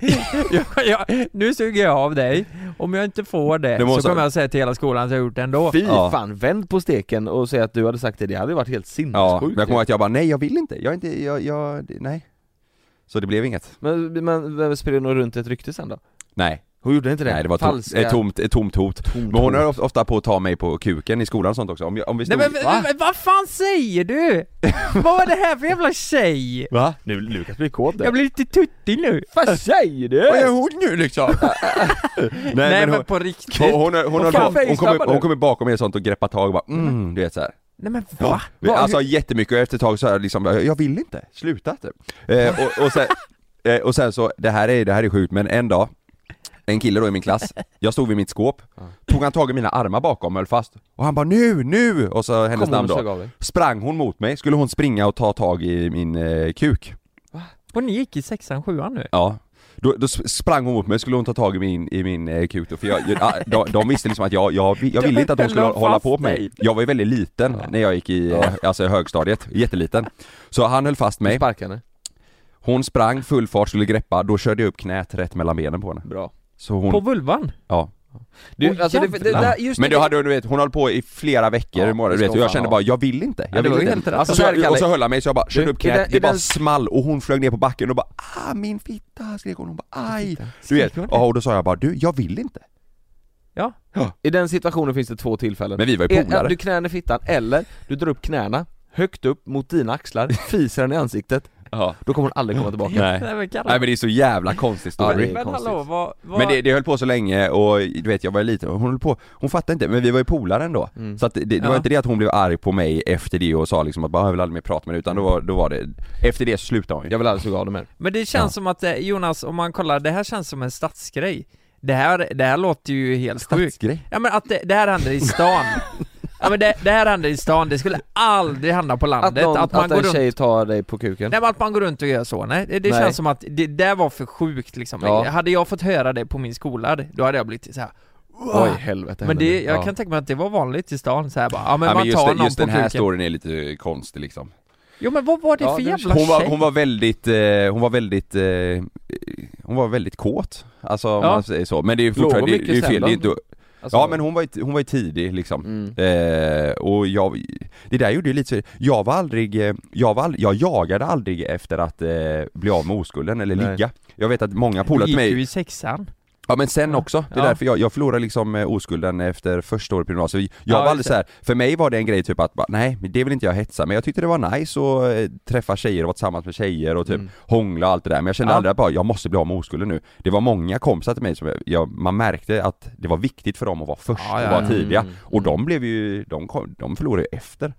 Speaker 5: nu suger jag av dig, om jag inte får det,
Speaker 3: Det måste-
Speaker 5: så kommer jag säga till hela skolan att jag har gjort det ändå
Speaker 2: Fy
Speaker 3: Ja.
Speaker 2: fan, vänd på steken och säg att du hade sagt det, det hade ju varit helt
Speaker 3: ja,
Speaker 2: sinnessjukt
Speaker 3: men jag kommer ihåg att jag bara nej jag vill inte, jag är inte, jag, jag, det- nej. Så det blev inget.
Speaker 2: men, men vem spred hon runt ett rykte sen då?
Speaker 3: Nej,
Speaker 2: Hon gjorde inte det?
Speaker 3: nej det var tom,
Speaker 2: Falska,
Speaker 3: ett tomt, ett tomt hot.
Speaker 2: tomt
Speaker 3: Men hon
Speaker 2: hot.
Speaker 3: höll of- ofta på att ta mig på kuken i skolan och sånt också. Om, jag- om vi
Speaker 5: Nej
Speaker 3: stod...
Speaker 5: men, men, men vad fan
Speaker 3: [laughs]
Speaker 5: säger du? vad var det här för jävla tjej?
Speaker 2: Va? Nu, Lukas blir kåt
Speaker 5: Jag blir lite tuttig nu
Speaker 2: Vad säger du?
Speaker 3: Vad gör hon nu liksom?
Speaker 2: [laughs]
Speaker 3: nej,
Speaker 5: Nej men,
Speaker 3: hon-
Speaker 5: på riktigt
Speaker 3: Hon, hon, hon, hon,
Speaker 2: fan,
Speaker 3: hon, hon,
Speaker 2: facetabbar
Speaker 3: kommer,
Speaker 2: du?
Speaker 3: hon kommer bakom mig och sånt och greppar tag och bara mm, du vet såhär
Speaker 5: Nej men va? va?
Speaker 3: Alltså jättemycket och efter ett tag så här liksom, jag vill inte, sluta typ. eh, och, och, sen, [laughs] eh, och sen så, det här är, det här är sjukt men en dag en kille då i min klass, jag stod vid mitt skåp, tog han tag i mina armar bakom och höll fast Och han bara nu, nu! Och så hennes
Speaker 2: Kom hon
Speaker 3: namn
Speaker 2: och sög
Speaker 3: då
Speaker 2: av dig?
Speaker 3: Sprang hon mot mig, skulle hon springa och ta tag i min eh, kuk
Speaker 5: Och ni gick i sexan, sjuan nu?
Speaker 3: Ja då, då sp- sprang hon mot mig, skulle hon ta tag i min, i min eh, kuk då, för jag, jag, ah, de, de visste liksom att jag, jag, vi- jag ville inte att hon skulle
Speaker 5: Höll hon
Speaker 3: hålla
Speaker 5: fast
Speaker 3: på med mig
Speaker 5: dig?
Speaker 3: Jag var ju väldigt liten när jag gick i eh, alltså, i högstadiet, jätteliten Så han höll fast mig,
Speaker 2: Sparka henne?
Speaker 3: hon sprang full fart, skulle greppa, då körde jag upp knät rätt mellan benen på henne
Speaker 2: Bra
Speaker 3: Så hon,
Speaker 5: På vulvan?
Speaker 3: ja
Speaker 7: Du,
Speaker 5: Åh,
Speaker 7: alltså, det, det,
Speaker 5: jävlar.
Speaker 7: där- just
Speaker 3: Men
Speaker 7: det-
Speaker 3: du hade, du vet, hon höll på i flera veckor
Speaker 7: Ja,
Speaker 3: i morgon, du vet, och jag kände bara, jag vill inte,
Speaker 5: det
Speaker 3: jag vill
Speaker 5: var ju
Speaker 3: inte.
Speaker 5: helt rätt.
Speaker 3: Alltså,
Speaker 7: Så
Speaker 3: så
Speaker 7: här, Kalle-
Speaker 3: och så höll han mig så jag bara, kör
Speaker 7: Du,
Speaker 3: upp
Speaker 7: i den-
Speaker 3: knät,
Speaker 7: i
Speaker 3: det bara
Speaker 7: den-
Speaker 3: small och hon flög ner på backen och bara, ah min fitta, skrek hon, hon bara, aj! Du vet, ja, och då sa jag bara, du, jag vill inte.
Speaker 5: Ja,
Speaker 2: I den situationen finns det två tillfällen
Speaker 3: Men vi var ju
Speaker 2: Eh, ja,
Speaker 3: polare.
Speaker 2: Du knän i fittan, eller du drar upp knäna högt upp mot dina
Speaker 3: [laughs]
Speaker 2: axlar, fiser den i ansiktet,
Speaker 3: Ja.
Speaker 2: då kommer hon aldrig komma tillbaka
Speaker 3: Nej.
Speaker 5: det är väl
Speaker 3: Nej men
Speaker 5: Kalle.
Speaker 3: det är så jävla konstig
Speaker 2: Ja,
Speaker 3: story.
Speaker 2: är
Speaker 5: Men
Speaker 2: konstigt.
Speaker 5: hallå, vad, vad...
Speaker 3: Men det, det höll på så länge och du vet jag var liten och hon höll på, hon fattade inte men vi var ju polare ändå.
Speaker 7: Mm.
Speaker 3: Så att det, det var
Speaker 5: Ja.
Speaker 3: inte det att hon blev arg på mig efter det och sa liksom att bara, jag vill aldrig mer prata med dig utan då var, då var det, efter det så slutade hon ju.
Speaker 2: Jag vill aldrig suga av dig mer
Speaker 5: Men det känns som att, eh, Jonas, om man kollar, det här känns som en stadsgrej Det här, det här låter ju helt sjukt
Speaker 3: Stadsgrej.
Speaker 5: Ja men att det, det här händer i stan Ja men det, det här händer i stan, det skulle aldrig hända på
Speaker 2: Att,
Speaker 5: landet
Speaker 2: någon,
Speaker 5: Att man
Speaker 2: att
Speaker 5: går
Speaker 2: en
Speaker 5: runt
Speaker 2: tjej tar dig på kuken
Speaker 5: Nej men att man går runt och gör så, nej det, det
Speaker 2: Nej.
Speaker 5: känns som att det där var för sjukt liksom
Speaker 2: Ja.
Speaker 5: Hade jag fått höra det på min skola, då hade jag blivit så här.
Speaker 2: Oj helvete
Speaker 5: Men
Speaker 2: hände
Speaker 5: det, jag
Speaker 2: Ja.
Speaker 5: kan tänka mig att det var vanligt i stan så här bara, ja men
Speaker 3: Ja,
Speaker 5: man
Speaker 3: men just,
Speaker 5: tar
Speaker 3: det-
Speaker 5: någon
Speaker 3: just
Speaker 5: på
Speaker 3: den här
Speaker 5: kuken
Speaker 3: storyn är lite eh, konstig liksom.
Speaker 5: Jo men vad var det
Speaker 2: Ja,
Speaker 5: för
Speaker 2: nu-
Speaker 5: jävla
Speaker 3: Hon var,
Speaker 5: tjej?
Speaker 3: hon var väldigt, eh, hon var väldigt, eh, eh, hon var väldigt kåt. Alltså om
Speaker 5: Ja.
Speaker 3: man säger så. Men det är ju
Speaker 2: Låg hon
Speaker 3: fortfarande, det, det är ju
Speaker 2: mycket
Speaker 3: fel, det är
Speaker 2: sen då?
Speaker 3: inte,
Speaker 2: Alltså-
Speaker 3: Ja men hon var ju, hon var ju tidig liksom.
Speaker 2: Mm.
Speaker 3: Eh, och jag, det där gjorde ju lite så, jag var aldrig, eh, jag var aldrig, jag jagade aldrig efter att eh, bli av med oskulden eller
Speaker 2: Nej.
Speaker 3: ligga. Jag vet att många polare till
Speaker 5: gick ju
Speaker 3: mig,
Speaker 5: i sexan
Speaker 3: ja men sen
Speaker 5: Ja.
Speaker 3: också, det är
Speaker 5: Ja.
Speaker 3: därför jag, jag förlorade liksom eh, oskulden efter första året på gymnasiet. Jag
Speaker 5: Ja,
Speaker 3: var aldrig
Speaker 5: just
Speaker 3: så här, för mig var det en grej typ att bara, nej men det vill inte jag hetsa, men jag tyckte det var nice att eh, träffa tjejer och vara tillsammans med tjejer och typ
Speaker 2: Mm.
Speaker 3: hångla och allt det där. Men jag kände
Speaker 5: Mm. Ja.
Speaker 3: aldrig att bara, jag måste bli av med oskulden nu. Det var många kompisar till mig som, jag, jag, man märkte att det var viktigt för dem att vara först
Speaker 5: Ja, ja,
Speaker 3: och vara
Speaker 5: ja.
Speaker 3: tidiga.
Speaker 2: Mm.
Speaker 3: Och de blev ju, de, kom, de förlorade ju efter.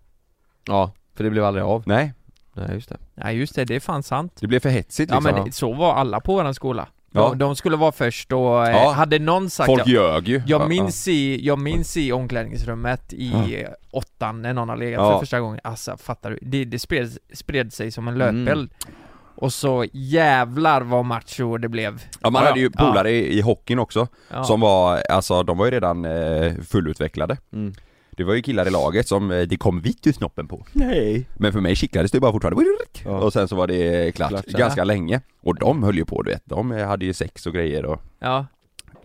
Speaker 2: Ja, för det blev aldrig av
Speaker 3: Nej,
Speaker 2: Nej just det
Speaker 5: Nej just det, det är fan sant
Speaker 3: det blev för hetsigt
Speaker 5: Ja
Speaker 3: liksom.
Speaker 5: men det- så var alla på våran skola. De,
Speaker 3: Ja.
Speaker 5: de skulle vara först och eh,
Speaker 3: Ja.
Speaker 5: hade någon sagt
Speaker 3: Folk
Speaker 5: jag,
Speaker 3: ljög ju.
Speaker 5: jag, minns i, jag minns i omklädningsrummet i
Speaker 3: Ja.
Speaker 5: eh, åttan när någon har legat
Speaker 3: Ja.
Speaker 5: för första gången, alltså fattar du? Det, det spred, spred sig som en
Speaker 3: Mm.
Speaker 5: löpeld. Och så jävlar vad macho det blev.
Speaker 3: Ja, man
Speaker 5: Ja,
Speaker 3: hade ju
Speaker 5: ja.
Speaker 3: polare i, i hockeyn också,
Speaker 5: Ja.
Speaker 3: som var, alltså de var ju redan eh, fullutvecklade.
Speaker 2: Mm.
Speaker 3: Det var ju killar i laget som eh, det kom vitt ur snoppen på.
Speaker 2: Nej
Speaker 3: Men för mig kickades det ju bara fortfarande.
Speaker 2: Ja.
Speaker 3: Och sen så var det klart,
Speaker 2: Klart, ja.
Speaker 3: ganska länge. Och de höll ju på du vet, de eh, hade ju sex och grejer och
Speaker 5: ja.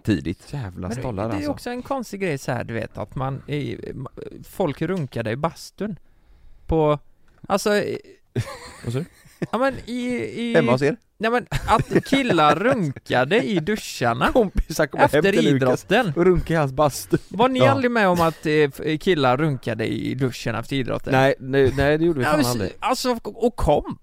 Speaker 3: tidigt.
Speaker 2: Jävla
Speaker 5: Men
Speaker 2: stollar
Speaker 5: det är
Speaker 2: alltså
Speaker 5: också en konstig grej så här, du vet att man, i, ma- folk runkade i bastun. På, alltså... i-
Speaker 2: Vad sa du?
Speaker 5: Ja men i... i
Speaker 3: Hemma
Speaker 5: [laughs]
Speaker 3: hos er?
Speaker 5: Nej men att
Speaker 2: [laughs]
Speaker 5: killar runkade i duscharna
Speaker 2: Kompisar kommer hem
Speaker 5: efter
Speaker 2: till Lukas
Speaker 5: idrotten.
Speaker 2: och runkar i hans bastu
Speaker 5: Var ni
Speaker 2: Ja.
Speaker 5: aldrig med om att eh, f- killar runkade i duschen efter idrotten?
Speaker 2: Nej, nej, nej det gjorde vi
Speaker 5: Ja,
Speaker 2: fan
Speaker 5: men,
Speaker 2: aldrig
Speaker 5: Alltså, och kom!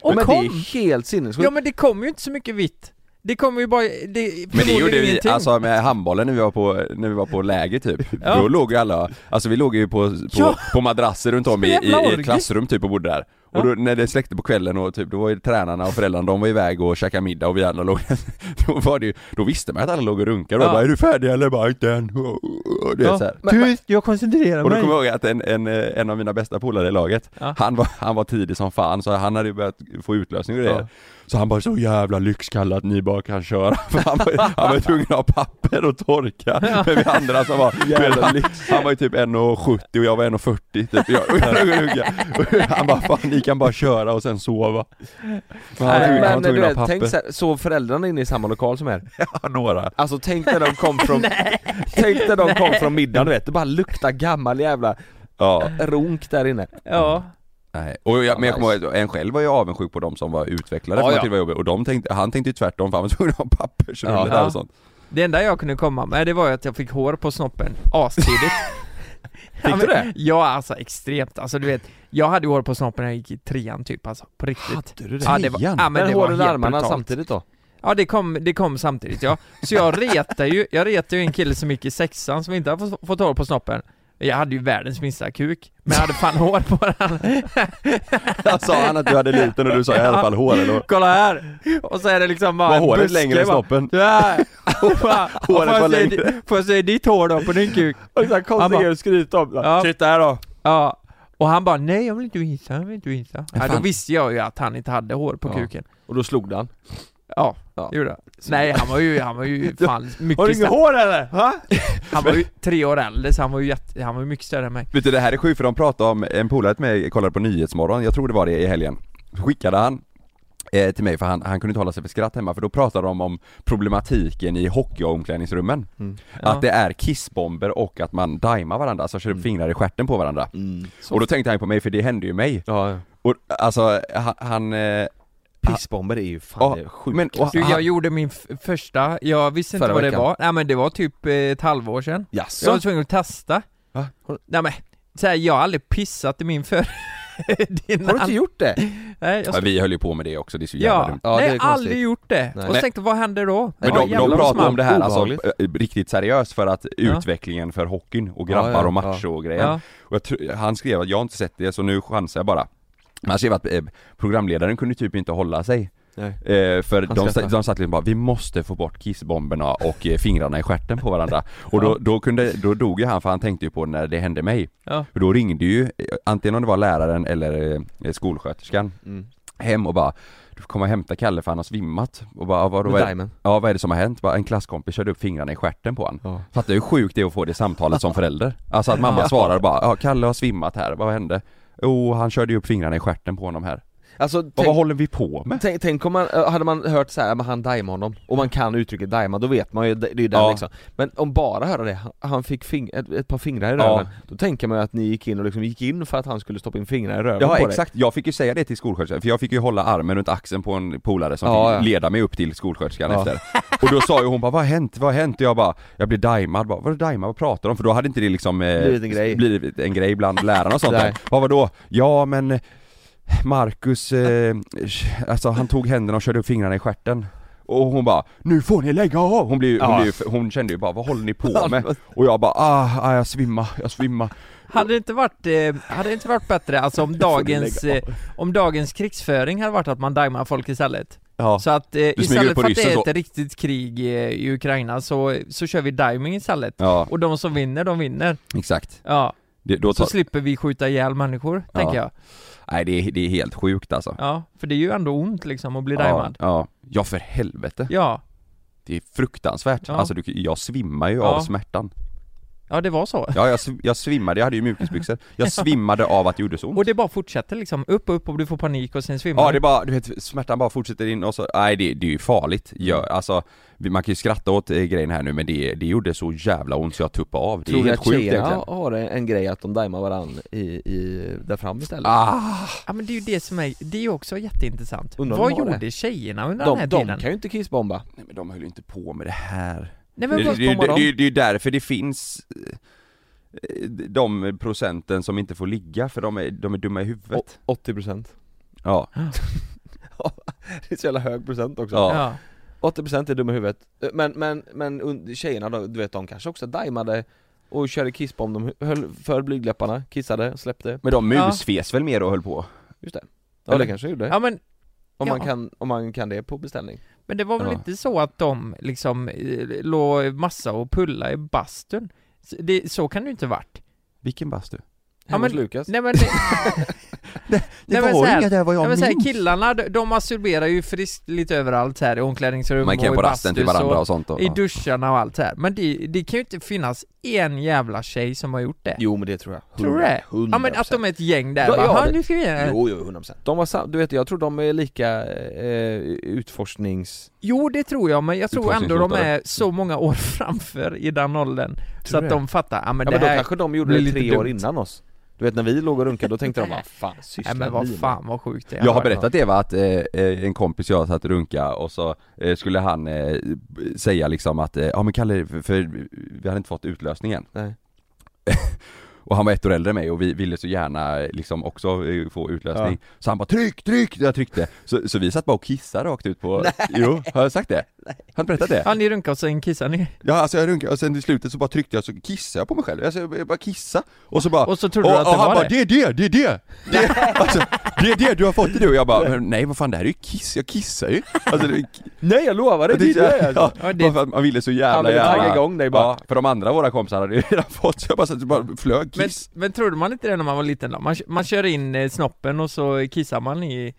Speaker 5: Och
Speaker 2: Men det
Speaker 5: kom!
Speaker 2: är helt sinnessjukt
Speaker 5: Ja men det kom ju inte så mycket vitt. Det kom ju bara... Det,
Speaker 3: Men det gjorde vi,
Speaker 5: ingenting.
Speaker 3: alltså med handbollen när vi var på, när vi var på läger typ,
Speaker 5: [laughs] Ja.
Speaker 3: då låg ju alla, alltså vi låg ju på, på,
Speaker 5: Ja.
Speaker 3: på madrasser runt om i,
Speaker 5: Spela
Speaker 3: i,
Speaker 5: jävla
Speaker 3: i
Speaker 5: orgie.
Speaker 3: ett klassrum typ och bodde där. Och då, när det släckte på kvällen och typ, då var ju tränarna och föräldrarna, de var iväg och käkade middag och vi andra låg [laughs] Då var det ju, då visste man att alla låg och runkade och
Speaker 5: Ja.
Speaker 3: bara 'Är du färdig eller?' bara 'Inte än' [laughs] Du vet såhär.
Speaker 2: Tyst, jag koncentrerar
Speaker 3: Och då kommer jag ihåg att en, en, eh, en av mina bästa polare i laget,
Speaker 5: Ja.
Speaker 3: han, var, han var tidig som fan så han hade ju börjat få utlösning och grejer.
Speaker 2: Ja.
Speaker 3: Så han bara 'Så jävla lyxkalle att ni bara kan köra' [laughs] För han var, han var tvungen att ha papper och torka. Men vi andra som var,
Speaker 2: Jävla
Speaker 3: han, han var ju typ 1,70 och jag var 1,40 typ. Jag, [laughs] och jag, och han bara 'Fan ni kan bara köra och sen sova' Men han var tvungen- han var
Speaker 2: Men du
Speaker 3: tvungen att
Speaker 2: vet,
Speaker 3: ha
Speaker 2: tänk
Speaker 3: papper.
Speaker 2: såhär, sov föräldrarna inne i samma lokal som er?
Speaker 3: [laughs] Ja, några.
Speaker 2: Alltså tänk när de
Speaker 5: [laughs]
Speaker 2: kom från, tänk när de kom från middagen du vet, det bara luktar gammal jävla
Speaker 3: Ja.
Speaker 2: runk där inne
Speaker 5: Ja.
Speaker 3: Nej, och jag, men jag kommer
Speaker 2: nice.
Speaker 3: ihåg, att en själv var ju avundsjuk på de som var utvecklade
Speaker 2: Ja,
Speaker 3: för
Speaker 2: ja.
Speaker 3: ja. det var jobbigt. och de tänkte, han tänkte ju tvärtom för han var tvungen att ha pappersrulle
Speaker 2: Ja.
Speaker 3: där
Speaker 5: Ja.
Speaker 3: och sånt.
Speaker 5: Det enda jag kunde komma med det var ju att jag fick hår på snoppen astidigt. Fick
Speaker 2: du det?
Speaker 5: Ja, alltså extremt. Alltså du vet, jag hade hår på snoppen när jag gick i trean typ alltså, på riktigt.
Speaker 3: Hade du det?
Speaker 5: Ja, det var, ja, men,
Speaker 2: Men,
Speaker 5: det var
Speaker 2: håret i
Speaker 5: helt
Speaker 2: armarna
Speaker 5: brutalt.
Speaker 2: samtidigt då?
Speaker 5: Ja det kom, det kom samtidigt ja. Så jag retade ju, jag retade ju en kille som gick i sexan som inte hade fått, fått hår på snoppen. Jag hade ju världens minsta kuk, men jag hade fan hår på den.
Speaker 3: [laughs] Sa han att du hade liten och du sa [laughs] i alla fall hår eller? [laughs] vad?
Speaker 5: Kolla här! Och så är det liksom bara
Speaker 3: Var
Speaker 5: en
Speaker 3: håret
Speaker 5: buske,
Speaker 3: längre än
Speaker 5: bara.
Speaker 3: snoppen?
Speaker 5: Så här. Och bara,
Speaker 3: [laughs] Håret
Speaker 5: får
Speaker 3: var
Speaker 5: jag se
Speaker 3: längre.
Speaker 5: di- Får jag se ditt hår då på din kuk? Han bara,
Speaker 2: att skryta om,
Speaker 5: Ja.
Speaker 2: titta här då!
Speaker 5: Ja, och han bara nej jag vill inte visa, jag vill inte visa. Ja, då
Speaker 2: fan.
Speaker 5: visste jag ju att han inte hade hår på
Speaker 2: Ja.
Speaker 5: kuken.
Speaker 2: Och då slog han
Speaker 5: Ja,
Speaker 2: Ja.
Speaker 5: det gjorde han. Nej han var ju, han
Speaker 2: [laughs]
Speaker 5: var ju fan mycket snabb-
Speaker 2: hår eller? Ha?
Speaker 5: Han var ju tre år äldre så han var ju jätte, han var ju mycket större än mig.
Speaker 3: Vet du det här är sjukt för de pratade om, en polare till mig kollade på Nyhetsmorgon, jag tror det var det i helgen. Så Skickade han eh, till mig för han, han kunde inte hålla sig för skratt hemma för då pratade de om problematiken i hockey och omklädningsrummen.
Speaker 5: Ja.
Speaker 3: Att det är kissbomber och att man daimar varandra, alltså kör upp fingrar i stjärten på varandra. Och då tänkte han på mig för det hände ju mig.
Speaker 2: Ja, ja.
Speaker 3: Och alltså han, han eh,
Speaker 2: Pissbomber är ju fan
Speaker 3: Ja,
Speaker 2: det sjukaste.
Speaker 3: men- och-
Speaker 5: Du, jag
Speaker 3: han-
Speaker 5: gjorde min f- första, jag visste inte
Speaker 3: Förra
Speaker 5: vad det
Speaker 3: veckan.
Speaker 5: var, nej men det var typ eh, ett halvår sedan Jag var
Speaker 3: jaså?
Speaker 5: tvungen att testa
Speaker 3: Va? Har-
Speaker 5: Nej men, så här, jag har aldrig pissat i min för... [laughs] din
Speaker 2: Har du inte gjort det?
Speaker 5: Nej, jag
Speaker 3: Ja, vi höll ju på med det också, det är så jävla
Speaker 5: Ja,
Speaker 3: dumt.
Speaker 2: Ja, det
Speaker 5: nej
Speaker 2: är
Speaker 5: jag har
Speaker 2: konstigt.
Speaker 5: aldrig gjort det.
Speaker 2: Nej.
Speaker 5: Och så
Speaker 3: Nej.
Speaker 5: tänkte jag, vad händer då?
Speaker 3: Men
Speaker 5: Ja,
Speaker 3: de,
Speaker 5: jävlar
Speaker 3: de
Speaker 5: vad
Speaker 3: pratar
Speaker 5: smart.
Speaker 3: om det här alltså,
Speaker 2: Obehagligt.
Speaker 3: eh, riktigt seriöst för att
Speaker 5: Ja.
Speaker 3: utvecklingen för hockeyn och
Speaker 2: Ja,
Speaker 3: grabbar
Speaker 2: ja,
Speaker 3: och match
Speaker 2: ja.
Speaker 3: och grejer.
Speaker 5: Ja.
Speaker 3: Och jag tror- han skrev att jag har inte sett det så nu chansar jag bara. Men Han skrev att eh, programledaren kunde typ inte hålla sig.
Speaker 2: Nej.
Speaker 3: Eh, för
Speaker 2: Han
Speaker 3: de,
Speaker 2: skrattar.
Speaker 3: sta- de satt liksom bara, vi måste få bort kissbomberna och eh, fingrarna i stjärten
Speaker 2: [laughs]
Speaker 3: på varandra. Och då, då, kunde, då dog ju han för han tänkte ju på när det hände mig.
Speaker 5: Ja.
Speaker 3: För då ringde ju, eh, antingen om det var läraren eller eh, skolsköterskan,
Speaker 2: Mm.
Speaker 3: hem och bara Du får komma och hämta Kalle för han har svimmat. Och bara, "Ja, vadå,
Speaker 2: Med
Speaker 3: vad, är-
Speaker 2: Diamond.
Speaker 3: Ja vad är det som har hänt? Bara, en klasskompis körde upp fingrarna i stjärten på honom.
Speaker 2: Ja.
Speaker 3: Fattar hur sjukt det är att få det samtalet som förälder? Alltså att mamma svarar bara ja Kalle har svimmat här, vad hände? Jo han körde ju upp fingrarna i stjärten på honom här.
Speaker 2: Alltså,
Speaker 3: Vad,
Speaker 2: tänk-
Speaker 3: vad håller vi på med?
Speaker 2: Tänk, tänk om man, eh, hade man hört så här, men han daimar honom, och man kan uttrycket daima, då vet man ju, det det är ju den
Speaker 3: Ja.
Speaker 2: liksom Men om bara höra det, han- han fick fing, ett, ett par fingrar i
Speaker 3: Ja.
Speaker 2: röven, då tänker man ju att ni gick in och liksom gick in för att han skulle stoppa in fingrar i röven
Speaker 3: Ja
Speaker 2: på dig.
Speaker 3: exakt, jag fick ju säga det till skolsköterskan för jag fick ju hålla armen runt axeln på en polare som
Speaker 2: Ja,
Speaker 3: fick
Speaker 2: ja.
Speaker 3: leda mig upp till skolsköterskan
Speaker 2: Ja.
Speaker 3: efter. Och då sa ju hon bara 'Vad har hänt? Vad har hänt?' Och jag bara 'Jag blir daimad' bara, 'Vadå daimad? Vad pratar de om?' För då hade inte det liksom eh,
Speaker 2: Blivit en grej.
Speaker 3: blivit en grej bland lärarna och
Speaker 2: [laughs]
Speaker 3: sånt
Speaker 2: Nej.
Speaker 3: där. Vad var då? Ja men eh, Marcus, eh, alltså han tog händerna och körde upp fingrarna i stjärten och hon bara 'Nu får ni lägga av!' Hon, blev, ju-
Speaker 2: Ja.
Speaker 3: hon, blev, ju- hon kände ju bara 'Vad håller ni på med?'
Speaker 2: [laughs]
Speaker 3: Och jag bara 'Ah, ah jag svimmar, jag svimmar'
Speaker 5: Hade det inte varit, eh, hade det inte varit bättre
Speaker 3: [laughs]
Speaker 5: alltså om dagens, eh, om dagens krigsföring hade varit att man daimar folk istället?
Speaker 3: Ja.
Speaker 5: Så att eh,
Speaker 3: smyger
Speaker 5: istället
Speaker 3: upp på
Speaker 5: för att det
Speaker 3: ryssen
Speaker 5: är
Speaker 3: så.
Speaker 5: ett riktigt krig eh, i Ukraina så, så kör vi diming istället.
Speaker 3: Ja,
Speaker 5: Och de som vinner, de vinner.
Speaker 3: exakt.
Speaker 5: Ja,
Speaker 3: Det, då
Speaker 5: så
Speaker 3: tar,
Speaker 5: slipper vi skjuta ihjäl människor,
Speaker 3: Ja.
Speaker 5: tänker jag.
Speaker 3: nej det är, det är helt sjukt alltså.
Speaker 5: Ja, för det är ju ändå ont liksom att bli
Speaker 3: Ja,
Speaker 5: daimad.
Speaker 3: ja. ja för helvete.
Speaker 5: Ja,
Speaker 3: Det är fruktansvärt.
Speaker 5: Ja.
Speaker 3: Alltså du, jag svimmar ju
Speaker 5: Ja.
Speaker 3: av smärtan.
Speaker 5: ja det var så.
Speaker 3: Ja jag, sv- jag svimmade, jag hade ju mjukisbyxor. Jag svimmade av att det gjorde så ont.
Speaker 5: [laughs] Och det bara fortsätter liksom, upp upp och du får panik och sen svimmar
Speaker 3: Ja
Speaker 5: du.
Speaker 3: det är bara, du vet smärtan bara fortsätter in och så, nej det, det är ju farligt. Jag, alltså, vi- man kan ju skratta åt eh, grejen här nu men det, det gjorde så jävla ont så jag tuppade av. Det är
Speaker 2: Tror ni
Speaker 3: helt
Speaker 2: att
Speaker 3: sjukt egentligen.
Speaker 2: tjejerna har en, en grej att de daimar varandra i, i, där fram istället?
Speaker 3: Ah,
Speaker 5: Ja men det är ju det som är, det är ju också jätteintressant.
Speaker 2: Undrar om
Speaker 5: Vad
Speaker 2: de har
Speaker 5: gjorde
Speaker 2: det?
Speaker 5: tjejerna under den
Speaker 2: de,
Speaker 5: här
Speaker 2: de
Speaker 5: tiden?
Speaker 2: kan ju inte kissbomba
Speaker 3: nej men de höll ju inte på med det här.
Speaker 5: Nej
Speaker 3: Det,
Speaker 5: men
Speaker 3: det,
Speaker 5: vad,
Speaker 3: det,
Speaker 2: bombade
Speaker 3: det,
Speaker 2: de?
Speaker 3: det, det är ju därför det finns eh, de procenten som inte får ligga för de är, de är dumma i huvudet.
Speaker 2: Å- 80%
Speaker 3: Ja.
Speaker 2: [laughs] Det är så jävla hög procent också
Speaker 3: Ja.
Speaker 5: ja.
Speaker 2: 80% är dumma i huvudet, Eh, men, men, men un- tjejerna då, du vet de kanske också daimade och körde kissbomb, de höll för blygdläpparna, kissade, släppte
Speaker 3: Men de
Speaker 5: Ja.
Speaker 3: musfes väl mer och höll på?
Speaker 2: Ja det
Speaker 3: Eller?
Speaker 2: kanske gjorde,
Speaker 5: ja men,
Speaker 2: om,
Speaker 5: ja.
Speaker 2: Man kan, om man kan det på beställning
Speaker 5: men det var väl
Speaker 3: Ja.
Speaker 5: inte så att de liksom eh, låg massa och pulla i bastun? Så Det, så kan det ju inte varit.
Speaker 3: Vilken bastu?
Speaker 5: Ja,
Speaker 2: Hemma hos
Speaker 5: men-
Speaker 2: Lukas [laughs]
Speaker 5: Nej men, nej, [laughs] nej, men så här,
Speaker 3: där vad
Speaker 5: nej, men så här, killarna de, de masturberar ju friskt lite överallt så här i omklädningsrum
Speaker 3: Man kan
Speaker 5: och
Speaker 3: på
Speaker 5: i
Speaker 3: rasten till
Speaker 5: bastus
Speaker 3: varandra och sånt och,
Speaker 5: och i duscharna och allt så här. Men det, det kan ju inte finnas en jävla tjej som har gjort det.
Speaker 2: Jo men det tror jag,
Speaker 5: Tror du det? Ja men att de är ett gäng där
Speaker 2: Ja,
Speaker 5: bara,
Speaker 2: ja,
Speaker 5: "Ha,
Speaker 2: det-
Speaker 5: nu ska vi göra det."
Speaker 2: Jo jo, 100% De var sam- du vet jag tror de är lika eh, utforsknings...
Speaker 5: Jo det tror jag, men jag tror ändå de
Speaker 3: Utforskningshotade.
Speaker 5: är så många år [laughs] framför i den åldern Så
Speaker 2: Tror
Speaker 5: att
Speaker 2: du
Speaker 5: de fattar, ja men
Speaker 2: Ja
Speaker 5: det
Speaker 2: men då
Speaker 5: här,
Speaker 2: kanske de gjorde
Speaker 5: blir
Speaker 2: det
Speaker 5: lite
Speaker 2: tre år
Speaker 5: dumt.
Speaker 2: innan oss Du vet när vi låg och runkade, då tänkte de
Speaker 5: [laughs]
Speaker 2: vad fan sysslar
Speaker 5: nej men vad
Speaker 2: ni
Speaker 5: fan vad sjukt det är
Speaker 3: jag har berättat det va, att eh, eh, en kompis jag satt och runka och så eh, skulle han eh, säga liksom att, eh, ja men Kalle, för, för vi hade inte fått utlösningen
Speaker 2: Nej.
Speaker 3: [laughs] Och han var ett år äldre än mig och vi ville så gärna eh, liksom också eh, få utlösning Så han bara 'Tryck, tryck!' Jag tryckte Så, så vi satt bara och kissade rakt ut
Speaker 5: [laughs]
Speaker 3: på... Jo, har jag sagt det? Har du berättat det?
Speaker 5: Ja ni runkar och sen kissar ni,
Speaker 3: Ja alltså jag runkade och sen i slutet så bara tryckte jag så kissade jag på mig själv, alltså jag bara kissa och så bara
Speaker 5: och så trodde du att det
Speaker 3: han
Speaker 5: var
Speaker 3: bara
Speaker 5: det?
Speaker 3: det är det, det är det! Det, alltså, det är det du har fått det du och jag bara men nej vad fan det här är ju kiss, jag kissar ju! Alltså, det,
Speaker 2: Nej jag lovar dig, det är det alltså.
Speaker 3: ja,
Speaker 5: Ja, det-
Speaker 3: bara för att man ville så
Speaker 2: Han
Speaker 3: jävla
Speaker 2: ville tagga
Speaker 3: gärna
Speaker 2: igång dig bara
Speaker 3: Ja, för de andra våra kompisar hade ju redan fått så jag bara, så bara flög
Speaker 5: Men,
Speaker 3: kiss
Speaker 5: men trodde man inte det när man var liten då? Man, man kör in eh, snoppen och så kissar man i...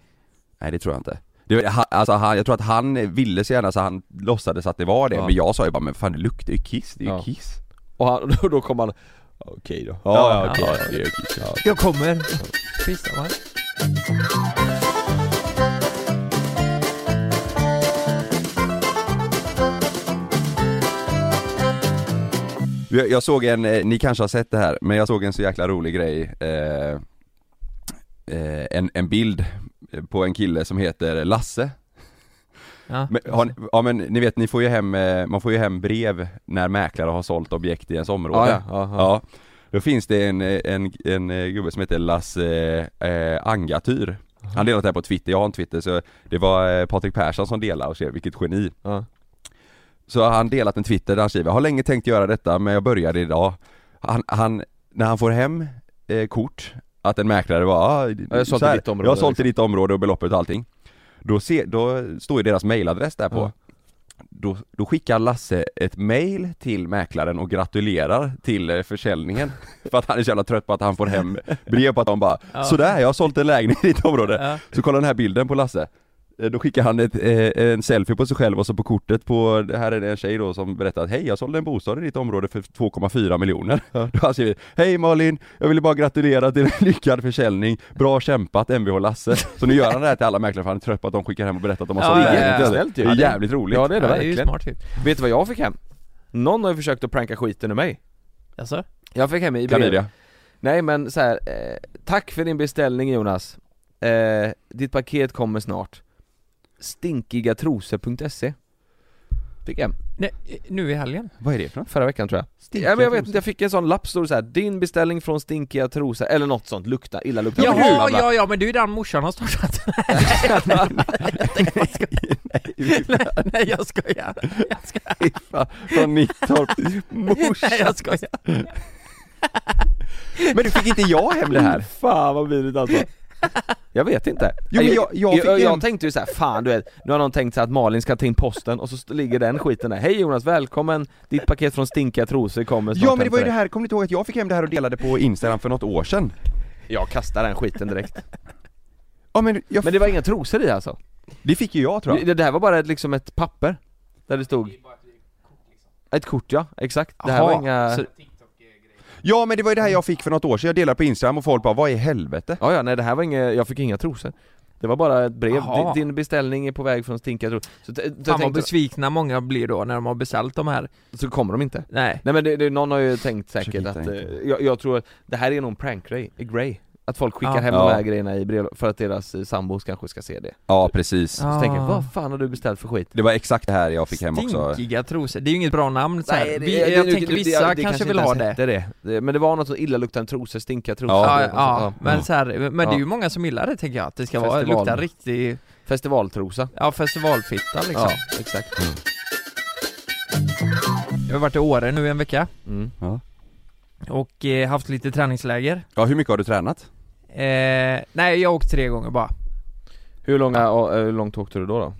Speaker 3: Nej det tror jag inte det, var- han, alltså han, jag tror att han ville så gärna så han låtsades att det var det,
Speaker 2: Ja.
Speaker 3: men jag sa ju bara men fan det luktar ju kiss, det är ju
Speaker 2: Ja.
Speaker 3: kiss
Speaker 2: [laughs] Och han, [laughs] då- då kom han Okej då
Speaker 3: Ja, ja,
Speaker 5: Ja.
Speaker 3: okej, ja, det är ju kiss, ja.
Speaker 5: Jag kommer! Kissar man?
Speaker 3: För jag, jag såg en, eh, ni kanske har sett det här, men jag såg en så jäkla rolig grej eh, eh, en, en bild eh, på en kille som heter Lasse
Speaker 5: Ja.
Speaker 3: men, har ni, ja men ni vet, ni får ju hem, eh, man får ju hem brev när mäklare har sålt objekt i ens område
Speaker 2: Ja, ja, ja, ja.
Speaker 3: Då finns det en, eh, en, en eh, gubbe som heter Lasse eh, eh, Angatyr Han delat det här på Twitter, jag har en Twitter så det var eh, Patrik Persson som delade och skrev vilket geni
Speaker 2: Ja.
Speaker 3: Så har han delat en Twitter där han skriver, har länge tänkt göra detta men jag började idag Han, han när han får hem eh, kort att en mäklare var ah,
Speaker 2: jag har sålt
Speaker 3: så
Speaker 2: i ditt område,
Speaker 3: jag har sålt i
Speaker 2: liksom."
Speaker 3: ditt område och beloppet och allting Då, se, då står ju deras mailadress där på
Speaker 2: Ja.
Speaker 3: då, då skickar Lasse ett mail till mäklaren och gratulerar till
Speaker 2: [laughs]
Speaker 3: eh, försäljningen För att han är så jävla trött på att han får hem brev på att de bara
Speaker 5: Ja.
Speaker 3: Sådär, jag har sålt en lägenhet i ditt område
Speaker 5: Ja.
Speaker 3: Så kolla den här bilden på Lasse Eh, Då skickar han ett, eh, en selfie på sig själv och så på kortet på, det här är det en tjej då som berättar att hej jag sålde en bostad i ditt område för 2,4 miljoner. Då har [laughs] han skrivit Hej Malin, jag ville bara gratulera till en [laughs] lyckad försäljning, bra kämpat Mvh Lasse. Så nu gör han det här till alla mäklare för han är trött på att de skickar hem och berättar att de har
Speaker 5: Ja,
Speaker 3: sålt
Speaker 5: ja, ja.
Speaker 3: lägenhet.
Speaker 2: Snällt ju.
Speaker 3: Det är jävligt roligt.
Speaker 2: Ja det är det
Speaker 5: Ja, det är ju
Speaker 2: verkligen.
Speaker 5: smart typ.
Speaker 2: Vet du vad jag fick hem? Någon har ju försökt att pranka skiten ur mig.
Speaker 5: Alltså?
Speaker 2: Jag fick hem i brev-
Speaker 3: Klamydia.
Speaker 2: Nej men så här, eh, tack för din beställning Jonas. Eh, ditt paket kommer snart. Stinkigatrosor.se Fick jag hem.
Speaker 5: Nej, nu i helgen?
Speaker 3: Vad är det för något?
Speaker 2: förra veckan tror jag.
Speaker 3: Stinkiga
Speaker 2: ja, men jag vet
Speaker 3: trosor.
Speaker 2: inte, jag fick en sån lapp stod det så här. din beställning från stinkiga trosor, eller något sånt, lukta, illa lukta.
Speaker 5: Jaha, ja, ja, men det är ju den morsan har startat. Nej, nej, jag skojar. Jag skojar.
Speaker 3: Fan, Från Nittorp. Morsan.
Speaker 5: Nej, jag skojar.
Speaker 3: Men du fick inte jag hem det [laughs] här?
Speaker 2: Fan vad billigt alltså. Jag vet inte.
Speaker 3: Jo, men jag- jag fick
Speaker 2: jag,
Speaker 3: hem-
Speaker 2: tänkte ju så här, fan du vet, nu har någon tänkt sig att Malin ska ta in posten och så st- ligger den skiten där. Hej Jonas, välkommen, ditt paket från stinkiga trosor kommer snart
Speaker 3: [laughs] Ja men det
Speaker 2: hem
Speaker 3: var ju
Speaker 2: till
Speaker 3: det här, kommer ni inte ihåg att jag fick hem det här och delade på Instagram för något år sedan?
Speaker 2: dig." Jag kastar den skiten direkt.
Speaker 3: Ja men, jag,
Speaker 2: Men det var inga trosor i alltså?
Speaker 3: det fick ju jag tror jag.
Speaker 2: Det, det här var bara ett, liksom ett papper, där det stod ett kort liksom. ja, exakt. Det här
Speaker 3: Jaha,
Speaker 2: var inga...
Speaker 3: så- Ja men det var ju det här jag fick för något år sedan, jag delade på Instagram och folk bara 'Vad i helvete?'
Speaker 2: Ja, ja, nej det här var inget, jag fick inga trosor Det var bara ett brev,
Speaker 5: Jaha.
Speaker 2: din, din beställning är på väg från stinkiga trosor Så, t- så,
Speaker 5: Fan vad
Speaker 2: tänkte,
Speaker 5: besvikna många blir då när de har beställt de här.
Speaker 2: så kommer de inte
Speaker 5: Nej.
Speaker 2: Nej men det, det, någon har ju tänkt säkert
Speaker 3: Försök
Speaker 2: att,
Speaker 3: hitta,
Speaker 2: eh, jag, jag tror att det här är någon prankgrej, grej Att folk skickar
Speaker 5: Ja.
Speaker 2: hem
Speaker 3: Ja.
Speaker 2: de här grejerna i brev för att deras eh, sambos kanske ska se det
Speaker 3: Ja precis.
Speaker 2: Så tänker jag, vad fan har du beställt för skit?
Speaker 3: Det var exakt det här jag fick hem också.
Speaker 5: Stinkiga trosor, det är ju inget bra namn så här. Vi, Jag
Speaker 2: det-
Speaker 5: tänker
Speaker 2: det-
Speaker 5: vissa
Speaker 2: det
Speaker 5: kanske, vill
Speaker 2: inte
Speaker 5: ha
Speaker 2: ens
Speaker 5: det.
Speaker 2: hette det. det Men det var något så illaluktande trosor, stinkiga trosor
Speaker 5: Ja, ja,
Speaker 2: Och så-
Speaker 5: men så här, men det är ju
Speaker 2: alltså. Mm. Ja.
Speaker 5: många som gillar det tänker jag, att det ska vara,
Speaker 2: Festival.
Speaker 5: lukta riktig,
Speaker 2: Festivaltrosa
Speaker 5: ja festivalfitta liksom.
Speaker 2: Ja, exakt
Speaker 5: Jag har varit i Åre nu i en vecka
Speaker 2: mm.
Speaker 5: och eh, haft lite träningsläger.
Speaker 3: Ja hur mycket har du tränat?
Speaker 5: Eh, nej, jag har åkt tre gånger bara.
Speaker 2: hur, långa, och, eh, hur långt åkte du då? då?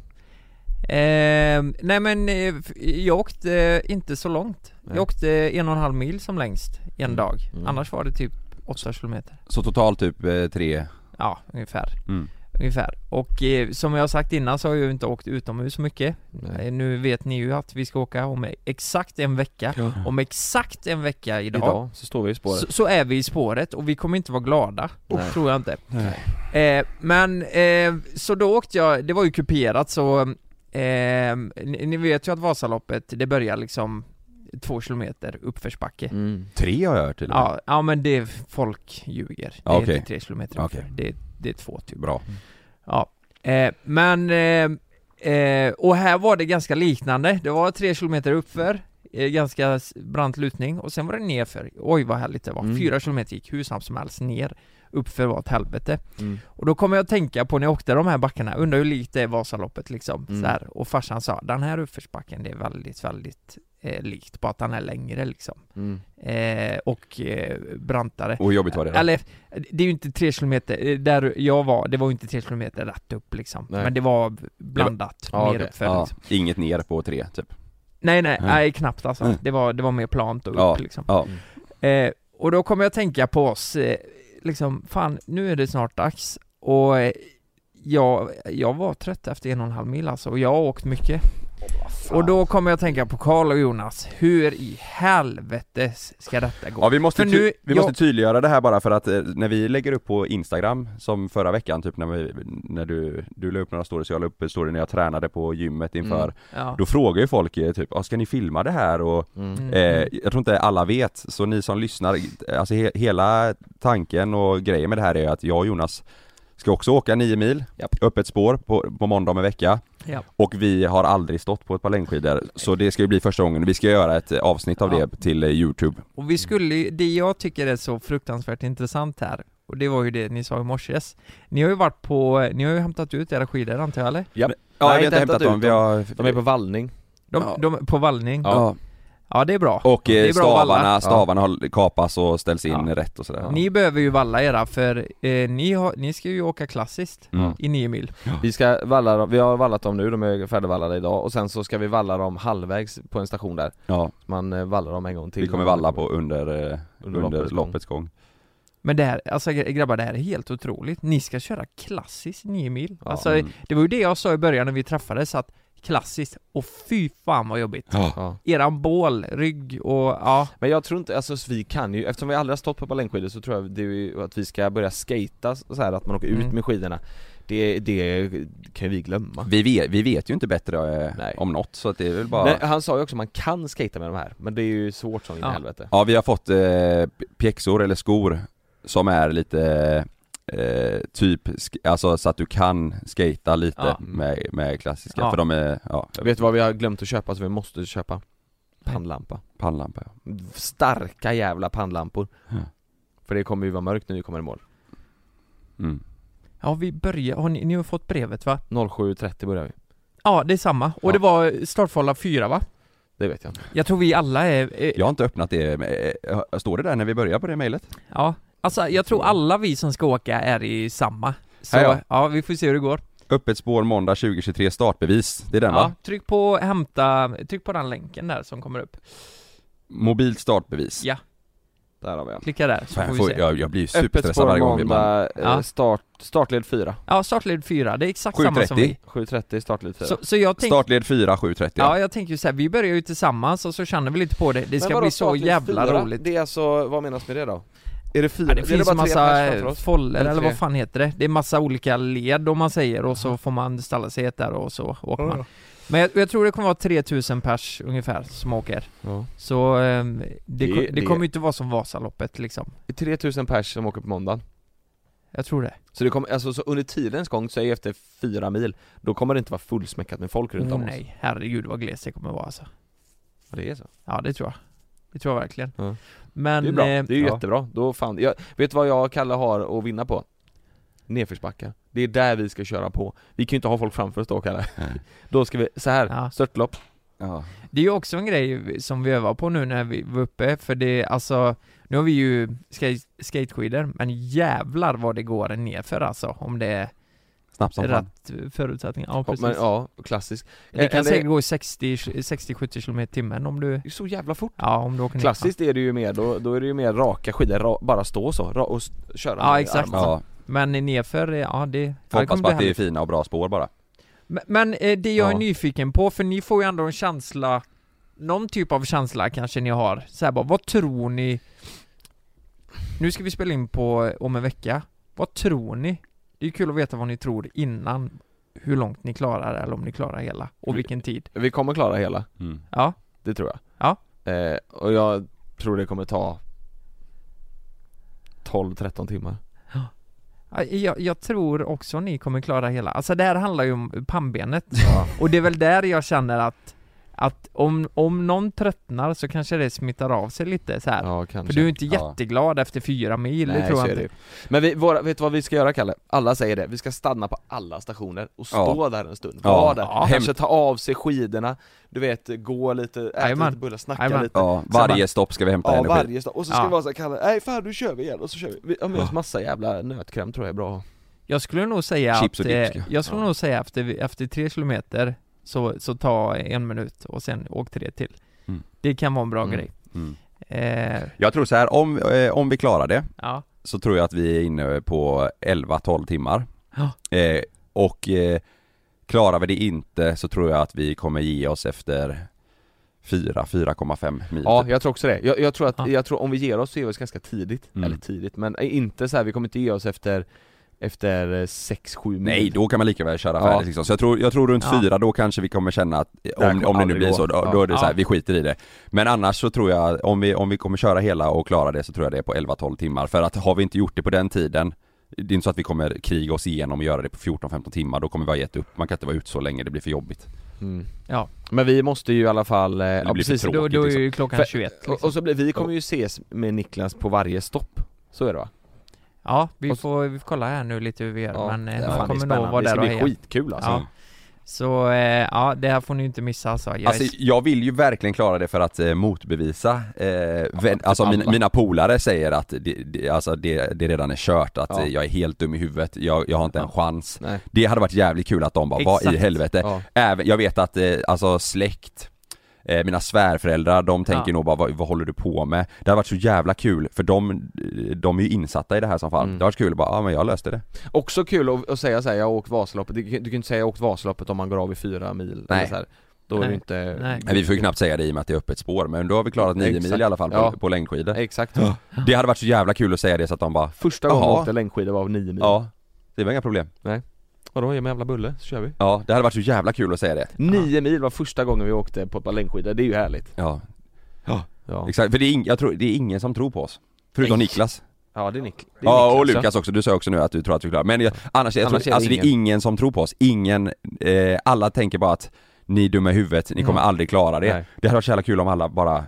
Speaker 5: Eh, nej men eh, f- jag åkte eh, inte så långt.
Speaker 2: Nej.
Speaker 5: Jag åkte eh, en och en halv mil som längst en
Speaker 2: Mm.
Speaker 5: dag.
Speaker 2: Mm.
Speaker 5: Annars var det typ åtta kilometer.
Speaker 3: Så totalt typ eh, tre?
Speaker 5: Ja, ungefär.
Speaker 3: Mm.
Speaker 5: Ungefär. Och eh, som jag har sagt innan så har jag ju inte åkt utomhus så mycket. Eh, Nu vet ni ju att vi ska åka om exakt en vecka.
Speaker 2: Ja.
Speaker 5: Om exakt en vecka idag,
Speaker 2: Idag så står vi i spåret
Speaker 5: Så, så är vi i spåret och vi kommer inte vara glada.
Speaker 2: Nej.
Speaker 5: Tror jag inte. Eh, men, eh, så då åkte jag, det var ju kuperat så eh, ni, ni vet ju att Vasaloppet, det börjar liksom två kilometer uppförsbacke.
Speaker 2: Mm.
Speaker 3: Tre har jag hört till och med.
Speaker 5: Ja, ja men det, folk ljuger. Det
Speaker 3: Ja,
Speaker 5: är
Speaker 3: okej.
Speaker 5: inte tre kilometer uppför,
Speaker 3: Okej.
Speaker 5: det, det är två typ.
Speaker 3: Bra.
Speaker 5: Ja, eh, men... Eh, eh, och här var det ganska liknande. Det var tre kilometer uppför, eh, ganska s- brant lutning, och sen var det nerför. Oj vad härligt det var.
Speaker 2: Mm.
Speaker 5: Fyra kilometer gick hur snabbt som helst ner. Uppför var ett helvete.
Speaker 2: Mm.
Speaker 5: Och då kommer jag att tänka på när jag åkte de här backarna, undrar hur likt det är Vasaloppet liksom.
Speaker 2: Mm.
Speaker 5: Så här. Och farsan sa, den här uppförsbacken, det är väldigt, väldigt eh, likt, bara att den är längre liksom.
Speaker 2: Mm.
Speaker 5: Eh, och eh, brantare.
Speaker 3: Och hur jobbigt var det då?
Speaker 5: Eller, det är ju inte tre kilometer, eh, där jag var, det var ju inte tre kilometer rätt upp liksom.
Speaker 2: Nej.
Speaker 5: Men det var blandat,
Speaker 2: Ja,
Speaker 5: mer
Speaker 2: okej.
Speaker 5: uppför
Speaker 3: Ja,
Speaker 5: liksom.
Speaker 3: inget ner på tre typ.
Speaker 5: Nej nej,
Speaker 3: Nej.
Speaker 5: nej, knappt alltså.
Speaker 3: Nej.
Speaker 5: Det, var, det var mer plant och upp
Speaker 3: Mm. Ja,
Speaker 5: liksom.
Speaker 3: ja.
Speaker 5: Eh, och då kommer jag tänka på oss, eh, liksom, fan nu är det snart dags. Och eh, jag, jag var trött efter en och en halv mil alltså, och jag har åkt mycket. Och då kommer jag att tänka på Karl och Jonas, hur i helvete ska detta gå?
Speaker 3: Ja vi måste,
Speaker 5: För
Speaker 3: ty-
Speaker 5: nu-
Speaker 3: vi
Speaker 5: jag-
Speaker 3: måste tydliggöra det här bara för att eh, när vi lägger upp på Instagram, som förra veckan typ när, vi, när du, du la upp några stories, jag la upp en story när jag tränade på gymmet inför
Speaker 2: Mm.
Speaker 5: Ja.
Speaker 3: Då frågar ju folk eh, typ, "Ah, ska ni filma det här? Och
Speaker 2: Mm.
Speaker 5: Mm.
Speaker 3: Eh, jag tror inte alla vet, så ni som lyssnar, alltså he- hela tanken och grejen med det här är att jag och Jonas ska också åka nio mil,
Speaker 2: Japp.
Speaker 3: öppet spår på, på måndag om en vecka
Speaker 5: Ja.
Speaker 3: och vi har aldrig stått på ett par längdskidor så det ska ju bli första gången, vi ska göra ett eh, avsnitt av
Speaker 5: Ja.
Speaker 3: det till eh, Youtube
Speaker 5: Och vi skulle ju- det jag tycker är så fruktansvärt intressant här, och det var ju det ni sa i morses, ni har ju varit på, ni har ju hämtat ut era skidor antar jag eller?
Speaker 3: Ja,
Speaker 2: Nej,
Speaker 3: vi har inte hämtat
Speaker 2: hämtat ut
Speaker 3: dem, vi har...
Speaker 2: De är på vallning
Speaker 5: De,
Speaker 3: Ja.
Speaker 5: de, på vallning? Ja.
Speaker 3: ja.
Speaker 5: det är bra.
Speaker 3: Och
Speaker 5: Det
Speaker 3: eh,
Speaker 5: är bra att
Speaker 3: stavarna,
Speaker 5: valla.
Speaker 3: stavarna har kapas och ställs in
Speaker 5: Ja.
Speaker 3: rätt och sådär
Speaker 5: Ni behöver ju valla era för eh, ni, har, ni ska ju åka klassiskt
Speaker 3: Mm.
Speaker 5: i nio mil.
Speaker 2: Vi ska valla dem, vi har vallat dem nu, de är färdigvallade idag och sen så ska vi valla dem halvvägs på en station där
Speaker 3: Ja,
Speaker 2: Man eh, vallar dem en gång till
Speaker 3: vi kommer valla på under, eh,
Speaker 2: Under
Speaker 3: under,
Speaker 2: loppets gång.
Speaker 3: loppets gång
Speaker 5: Men det här, alltså gre- grabbar det här är helt otroligt. Ni ska köra klassiskt nio mil.
Speaker 2: Ja.
Speaker 5: Alltså
Speaker 3: Mm.
Speaker 5: det var ju det jag sa i början när vi träffades att klassiskt, och fy fan vad jobbigt.
Speaker 2: ja.
Speaker 5: Eran bål, rygg och ja.
Speaker 2: Men jag tror inte, alltså vi kan ju, eftersom vi aldrig har stått på längdskidor så tror jag det är ju att vi ska börja skata så här att man åker ut
Speaker 5: Mm.
Speaker 2: med skidorna det, det kan ju vi glömma
Speaker 3: Vi vet, vi vet ju inte bättre eh,
Speaker 2: Nej.
Speaker 3: om något så att det är väl bara
Speaker 2: Nej, han sa ju också att man kan skata med de här, men det är ju svårt som in i
Speaker 5: Ja.
Speaker 2: helvete
Speaker 3: Ja vi har fått eh, p- pjäxor eller skor som är lite eh, typ, sk- alltså så att du kan skata lite Mm.
Speaker 5: Ja.
Speaker 3: med, med klassiska
Speaker 5: Ja.
Speaker 3: för de är, ja,
Speaker 2: Jag vet du vad vi har glömt att köpa så vi måste köpa? Pannlampa
Speaker 3: pannlampa ja.
Speaker 2: Starka jävla pannlampor
Speaker 3: Ja.
Speaker 2: För det kommer ju vara mörkt när vi kommer i mål
Speaker 3: Mm.
Speaker 5: Ja vi börjar, har ni, ni har fått brevet va?
Speaker 2: 07.30 börjar vi,
Speaker 5: Ja det är samma. Och
Speaker 2: Ja.
Speaker 5: det var startförhållande fyra va?
Speaker 2: det vet jag
Speaker 5: Jag tror vi alla är, är
Speaker 3: Jag har inte öppnat det, med- eh, står det där när vi börjar på det mejlet?
Speaker 5: Ja, alltså jag tror alla vi som ska åka är i samma. Så
Speaker 3: Ja,
Speaker 5: ja,
Speaker 3: ja.
Speaker 5: vi får se hur det går.
Speaker 3: Öppet spår måndag 2023 startbevis, det är den
Speaker 5: Ja,
Speaker 3: va?
Speaker 5: tryck på hämta, tryck på den länken där som kommer upp.
Speaker 3: Mobilt startbevis.
Speaker 5: Ja.
Speaker 2: Där har vi han
Speaker 5: Klicka där så
Speaker 3: Fan,
Speaker 5: får
Speaker 3: jag,
Speaker 5: vi
Speaker 3: får,
Speaker 5: se.
Speaker 3: jag, jag blir ju
Speaker 2: Öppet
Speaker 3: superstressad
Speaker 2: spår
Speaker 3: varje gång vi man...
Speaker 2: måndag, eh,
Speaker 5: Ja.
Speaker 2: start, startled 4
Speaker 5: Ja, startled 4, det är exakt samma som
Speaker 3: 7.30.
Speaker 5: vi.
Speaker 2: 7.30 startled 4
Speaker 5: Så, så jag tänkte,
Speaker 3: Startled 4, 7.30
Speaker 5: ja jag tänker ju såhär, vi börjar ju tillsammans och så känner vi lite på det, det
Speaker 2: Men
Speaker 5: ska
Speaker 2: vadå
Speaker 5: bli så
Speaker 2: startled
Speaker 5: jävla
Speaker 2: fyra?
Speaker 5: roligt.
Speaker 2: Det är alltså, vad menas med det då? Är det fyra?
Speaker 5: Ja, det
Speaker 2: är
Speaker 5: finns
Speaker 2: bara tre pers framför
Speaker 5: massa
Speaker 2: oss?
Speaker 5: foller
Speaker 2: Eller
Speaker 5: eller
Speaker 2: tre. Mm.
Speaker 5: vad fan heter det? Det är massa olika led om man säger och så får man ställa sig i ett där och så åker man. Men jag, jag tror det kommer vara 3000 pers ungefär som åker.
Speaker 2: Ja.
Speaker 5: Så ehm, det,
Speaker 2: Det-
Speaker 5: ko- det,
Speaker 2: det-
Speaker 5: kommer ju inte vara som Vasaloppet liksom.
Speaker 2: Det är 3000 pers som åker på måndag
Speaker 5: Jag tror det.
Speaker 2: Så det kommer, alltså så under tidens gång, säg efter fyra mil Då kommer det inte vara fullsmäckat med folk runt
Speaker 5: Åh
Speaker 2: om oss
Speaker 5: nej, herregud vad glest det kommer vara alltså.
Speaker 2: Ja, Det är så
Speaker 5: Ja det tror jag. Det tror jag verkligen.
Speaker 2: Ja.
Speaker 5: Men...
Speaker 2: Det är bra,
Speaker 5: eh,
Speaker 2: det är ju
Speaker 5: ja.
Speaker 2: jättebra. Då fan, jag, vet du vad jag och Kalle har att vinna på? Nedförsbackar. Det är där vi ska köra på. Vi kan ju inte ha folk framför oss då Kalle.
Speaker 3: Nej.
Speaker 2: Då ska vi, så här,
Speaker 5: Ja.
Speaker 2: störtlopp.
Speaker 3: Ja.
Speaker 5: Det är ju också en grej som vi övar på nu när vi var uppe, för det, alltså, nu har vi ju skate, skateskidor, men jävlar vad det går nerför alltså, om det är
Speaker 3: Snabbt som fan.
Speaker 5: rätt förutsättningar. Ja, precis.
Speaker 2: Men, ja, klassiskt.
Speaker 5: det kan
Speaker 2: eller-
Speaker 5: säkert gå 60 60-70 km timmen om du,
Speaker 2: Det är så jävla fort.
Speaker 5: ja om du åker ner.
Speaker 2: Klassiskt är det ju mer, då, då är det ju mer raka skidor, ra, bara stå så, ra, och s- köra
Speaker 5: Ja,
Speaker 2: med
Speaker 5: exakt.
Speaker 2: armarna.
Speaker 3: Ja,
Speaker 5: Men nerför, eh, ja det... ja, det
Speaker 3: hoppas
Speaker 5: kommer
Speaker 3: på
Speaker 5: bli
Speaker 3: att det är
Speaker 5: härligt.
Speaker 3: fina och bra spår bara.
Speaker 5: Men, men eh, det jag är
Speaker 2: Ja.
Speaker 5: nyfiken på, för ni får ju ändå en känsla Någon typ av känsla kanske ni har, så här bara, vad tror ni? Nu ska vi spela in på om en vecka Vad tror ni? Det är ju kul att veta vad ni tror innan Hur långt ni klarar eller om ni klarar hela och vilken tid
Speaker 2: Vi kommer klara hela,
Speaker 5: Ja,
Speaker 2: det tror jag.
Speaker 5: Ja.
Speaker 2: Eh, och jag tror det kommer ta 12-13 timmar.
Speaker 5: Ja, jag, jag tror också ni kommer klara hela Alltså det här handlar ju om pannbenet [laughs] Och det är väl där jag känner att Att om, om någon tröttnar så kanske det smittar av sig lite så här.
Speaker 2: Ja,
Speaker 5: För
Speaker 2: kanske.
Speaker 5: du är inte
Speaker 3: Ja.
Speaker 5: jätteglad efter fyra mil, det
Speaker 2: Nej,
Speaker 5: tror
Speaker 2: så
Speaker 5: jag
Speaker 2: är det
Speaker 5: inte.
Speaker 2: ju. Men vi, våra, vet du vad vi ska göra Kalle? Alla säger det, vi ska stanna på alla stationer och stå där en stund,
Speaker 3: Ja.
Speaker 2: vara där,
Speaker 5: Ja.
Speaker 2: kanske ta av sig skidorna, du vet gå lite, äta
Speaker 5: Jajamän.
Speaker 2: lite bullar, snacka
Speaker 5: Jajamän.
Speaker 2: lite
Speaker 3: Ja, varje stopp ska vi hämta
Speaker 2: Ja
Speaker 3: energi.
Speaker 2: varje stad, och så ska
Speaker 5: Ja.
Speaker 2: vi vara såhär Kalle, nej fan nu kör vi igen och så kör vi, vi har med oss massa jävla nötkräm tror jag är bra
Speaker 5: Jag skulle nog säga
Speaker 3: Chips
Speaker 5: att,
Speaker 3: och dips, ja.
Speaker 5: eh, jag skulle
Speaker 2: Ja.
Speaker 5: nog säga efter, efter tre kilometer så, så ta en minut och sen åk tre till.
Speaker 3: Mm.
Speaker 5: Det kan vara en bra
Speaker 2: Mm.
Speaker 5: grej.
Speaker 3: Mm.
Speaker 5: Eh,
Speaker 3: Jag tror så här, om, eh, om vi klarar det
Speaker 5: ja.
Speaker 3: så tror jag att vi är inne på 11-12 timmar.
Speaker 5: Ja.
Speaker 3: Eh, och eh, Klarar vi det inte så tror jag att vi kommer ge oss efter 4, 4,5 mil.
Speaker 2: Ja,
Speaker 3: typ.
Speaker 2: jag tror också det. Jag, jag tror att,
Speaker 5: Ja.
Speaker 2: jag tror om vi ger oss så ger vi oss ganska tidigt,
Speaker 3: Mm.
Speaker 2: eller tidigt, men inte så här, vi kommer inte ge oss efter, efter eh, 6-7 mil
Speaker 3: Nej, då kan man lika väl köra
Speaker 2: Mm. Ja.
Speaker 3: färdigt liksom. Så jag tror, jag tror runt
Speaker 5: Ja.
Speaker 3: fyra, då kanske vi kommer känna att
Speaker 2: Det här
Speaker 3: om,
Speaker 2: kommer
Speaker 3: om det nu
Speaker 2: aldrig
Speaker 3: blir
Speaker 2: gå.
Speaker 3: så, då,
Speaker 2: Ja.
Speaker 3: då är det så här,
Speaker 5: Ja.
Speaker 3: vi skiter i det. Men annars så tror jag, om vi, om vi kommer köra hela och klara det så tror jag det är på 11-12 timmar. För att har vi inte gjort det på den tiden, det är inte så att vi kommer kriga oss igenom och göra det på 14-15 timmar, då kommer vi ha gett upp. Man kan inte vara ute så länge, det blir för jobbigt.
Speaker 2: mm.
Speaker 5: Ja.
Speaker 2: Men vi måste ju i alla fall, eh, ja,
Speaker 3: blir för
Speaker 2: precis,
Speaker 3: tråkigt. liksom.
Speaker 5: Då, då är ju klockan
Speaker 2: För-
Speaker 5: 21
Speaker 2: och,
Speaker 5: liksom.
Speaker 2: och så blir, vi kommer ju ses med Niklas på varje stopp, så är det va?
Speaker 5: Ja, vi
Speaker 2: och-
Speaker 5: får, vi får kolla här nu lite hur vi gör men eh,
Speaker 2: det
Speaker 5: man
Speaker 2: fan, det är
Speaker 5: kommer nog
Speaker 2: spännande.
Speaker 5: vara
Speaker 2: Det
Speaker 5: där
Speaker 2: ska
Speaker 5: och
Speaker 2: bli
Speaker 5: heja.
Speaker 2: skitkul alltså.
Speaker 5: Ja. Så eh, ja, det här får ni inte missa alltså. Jag
Speaker 3: Alltså
Speaker 5: är...
Speaker 3: jag vill ju verkligen klara det för att eh, motbevisa, eh, vän, alltså
Speaker 2: Typ alla.
Speaker 3: mina, mina polare säger att det, det, alltså det, det redan är kört, att
Speaker 2: Ja.
Speaker 3: eh, jag är helt dum i huvudet, jag, jag har inte en chans.
Speaker 2: Nej.
Speaker 3: Det hade varit jävligt kul att de bara, vad i
Speaker 5: Exakt.
Speaker 3: helvete?
Speaker 2: Ja.
Speaker 3: Även, jag vet att eh, alltså släkt, eh, mina svärföräldrar, de tänker
Speaker 5: Ja.
Speaker 3: nog bara vad, vad håller du på med? Det hade varit så jävla kul, för de, de är ju insatta i det här som fan.
Speaker 2: Mm.
Speaker 3: Det hade varit kul att bara, ja men jag löste det.
Speaker 2: Också kul att, att säga såhär, jag har åkt Vasaloppet, du, kan- du kan inte säga jag har åkt Vasaloppet om man går av i fyra mil
Speaker 3: Nej.
Speaker 2: eller så här. Då är det
Speaker 5: Nej.
Speaker 2: inte...
Speaker 5: Nej.
Speaker 3: Men vi får ju knappt säga det i och med att det är öppet spår, men då har vi klarat nio
Speaker 2: Exakt.
Speaker 3: mil i alla fall på,
Speaker 2: Ja.
Speaker 3: på längdskidor.
Speaker 2: Exakt.
Speaker 3: Det hade varit så jävla kul att säga det så att de bara,
Speaker 2: Första gången
Speaker 3: Jaha.
Speaker 2: jag åkte längdskidor var nio mil.
Speaker 3: ja, det var inga problem.
Speaker 2: Vadå, ge mig en jävla bulle så kör vi.
Speaker 3: Ja, det hade varit så jävla kul att säga det.
Speaker 2: Nio mil var första gången vi åkte på ett par längdskidor, det är ju härligt.
Speaker 3: Ja,
Speaker 2: Ja,
Speaker 3: exakt. För det är, ing- jag tror, det är ingen som tror på oss. Förutom Niklas.
Speaker 2: ja det är Nick. Det är
Speaker 3: Ja, och
Speaker 2: Niklas,
Speaker 3: Lukas också. Du sa också nu att du tror att vi klarar Men jag, annars, jag
Speaker 2: Annars
Speaker 3: tror,
Speaker 2: är det
Speaker 3: alltså det är
Speaker 2: ingen.
Speaker 3: ingen som tror på oss. Ingen, eh, alla tänker bara att ni är dumma i huvudet, ni kommer aldrig klara det.
Speaker 2: Nej.
Speaker 3: Det hade varit så jävla kul om alla bara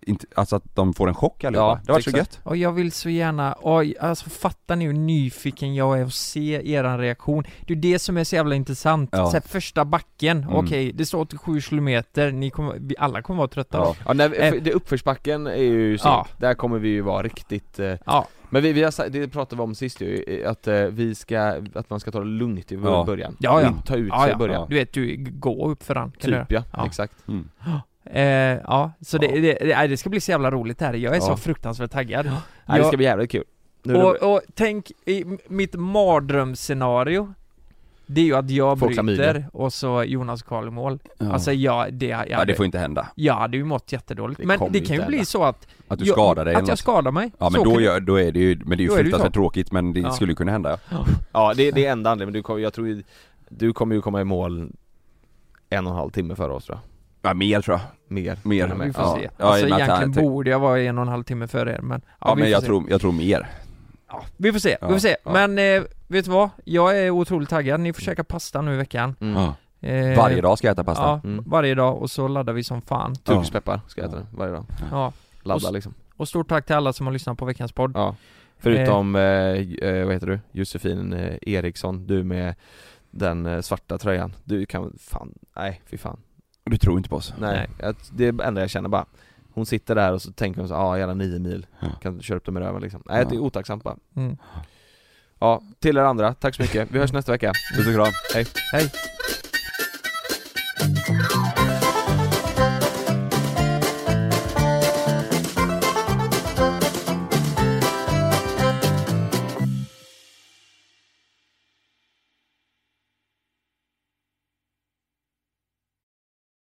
Speaker 3: inte, alltså att de får en chock allihopa.
Speaker 2: Ja,
Speaker 3: det var så
Speaker 2: exakt.
Speaker 3: gött.
Speaker 5: Och jag vill så gärna, oj, alltså fattar ni hur nyfiken jag är att se eran reaktion? Det är det som är så jävla intressant,
Speaker 3: Ja.
Speaker 5: så här, första backen,
Speaker 3: Mm.
Speaker 5: okej, det står 87 kilometer, ni kommer, vi alla kommer vara trötta
Speaker 3: Ja.
Speaker 5: då.
Speaker 2: Ja, nej, för
Speaker 5: Eh.
Speaker 2: det uppförsbacken är ju sent.
Speaker 5: Ja.
Speaker 2: Där kommer vi ju vara riktigt eh,
Speaker 5: Ja,
Speaker 2: Men vi, vi har, sagt- det pratade vi om sist ju, eh, att eh, vi ska, att man ska ta det lugnt i
Speaker 3: Ja.
Speaker 2: början
Speaker 5: Ja, ja.
Speaker 2: Inte Ta ut
Speaker 5: ja,
Speaker 2: sig i
Speaker 5: ja.
Speaker 2: början
Speaker 5: du vet du, gå upp för den, kan du
Speaker 2: Typ ja,
Speaker 5: Ja.
Speaker 2: exakt
Speaker 3: Mm.
Speaker 5: göra. eh, Ja, så det,
Speaker 2: Ja.
Speaker 5: det, det, nej, det ska bli så jävla roligt det här, jag är
Speaker 2: Ja.
Speaker 5: så fruktansvärt taggad.
Speaker 2: Nej, Det
Speaker 5: Jag-
Speaker 2: ska bli jävligt kul Nu är det
Speaker 5: Och, och tänk, i m- mitt mardrömscenario Det är ju att jag
Speaker 2: Få
Speaker 5: bryter
Speaker 2: klamydia.
Speaker 5: och så Jonas Karl i mål.
Speaker 3: Ja.
Speaker 5: Alltså jag, det, jag,
Speaker 3: ja, det får inte hända.
Speaker 5: jag hade ju mått jättedåligt.
Speaker 2: Det
Speaker 5: men
Speaker 2: kommer
Speaker 5: det
Speaker 2: ju
Speaker 5: kan ju
Speaker 2: inte
Speaker 5: bli
Speaker 2: hända.
Speaker 5: så att...
Speaker 3: Att du skadar dig
Speaker 5: jag, Att
Speaker 3: eller
Speaker 5: alltså, jag
Speaker 3: något.
Speaker 5: skadar mig.
Speaker 3: Ja men
Speaker 5: Så
Speaker 3: då,
Speaker 5: kan-
Speaker 3: gör, då är det ju, men det är ju
Speaker 5: Då är det ju
Speaker 3: fruktansvärt
Speaker 5: så.
Speaker 3: tråkigt men det
Speaker 5: Ja.
Speaker 3: skulle ju kunna hända ja.
Speaker 2: Ja det, det är enda anledningen, men du kommer, jag tror ju- du kommer ju komma i mål en och en halv timme före oss tror jag
Speaker 3: ja mer tror jag.
Speaker 2: Mer
Speaker 3: Mer.
Speaker 2: Till och
Speaker 5: Vi
Speaker 2: med.
Speaker 5: får
Speaker 3: Ja.
Speaker 5: se.
Speaker 3: Ja,
Speaker 5: alltså
Speaker 3: i och med att
Speaker 5: egentligen
Speaker 3: han-
Speaker 5: borde jag vara en och en halv timme före er men...
Speaker 3: Ja
Speaker 5: vi
Speaker 3: men
Speaker 5: får
Speaker 3: jag
Speaker 5: se.
Speaker 3: tror, jag tror mer.
Speaker 5: Ja, vi får se,
Speaker 3: Ja,
Speaker 5: vi får se.
Speaker 3: ja.
Speaker 5: Men eh, vet du vad? Jag är otroligt taggad, ni får käka pasta nu i veckan.
Speaker 2: Mm.
Speaker 3: Ja.
Speaker 5: Eh,
Speaker 3: Varje dag ska jag äta pasta.
Speaker 5: Ja,
Speaker 2: Mm.
Speaker 5: varje dag och så laddar vi som fan.
Speaker 2: Turkispeppar ska jag äta den varje dag,
Speaker 5: Ja. Och
Speaker 2: ladda
Speaker 5: s-
Speaker 2: liksom
Speaker 5: Och stort tack till alla som har lyssnat på veckans podd.
Speaker 2: Ja Förutom, eh, eh, vad heter du? Josefin eh, Eriksson, du med den eh, svarta tröjan Du kan, fan, nej fy fan
Speaker 3: Du tror inte på oss?
Speaker 2: Nej, att det är det enda jag känner bara Hon sitter där och så tänker hon så ja ah, jävla nio mil,
Speaker 3: Ja.
Speaker 2: kan köra upp dem i röven liksom Nej det är
Speaker 3: Ja.
Speaker 2: otacksamt bara
Speaker 5: Mm.
Speaker 2: Ja, till er andra, tack så mycket, vi hörs nästa vecka
Speaker 3: Puss och kram.
Speaker 2: Hej!
Speaker 5: Hej.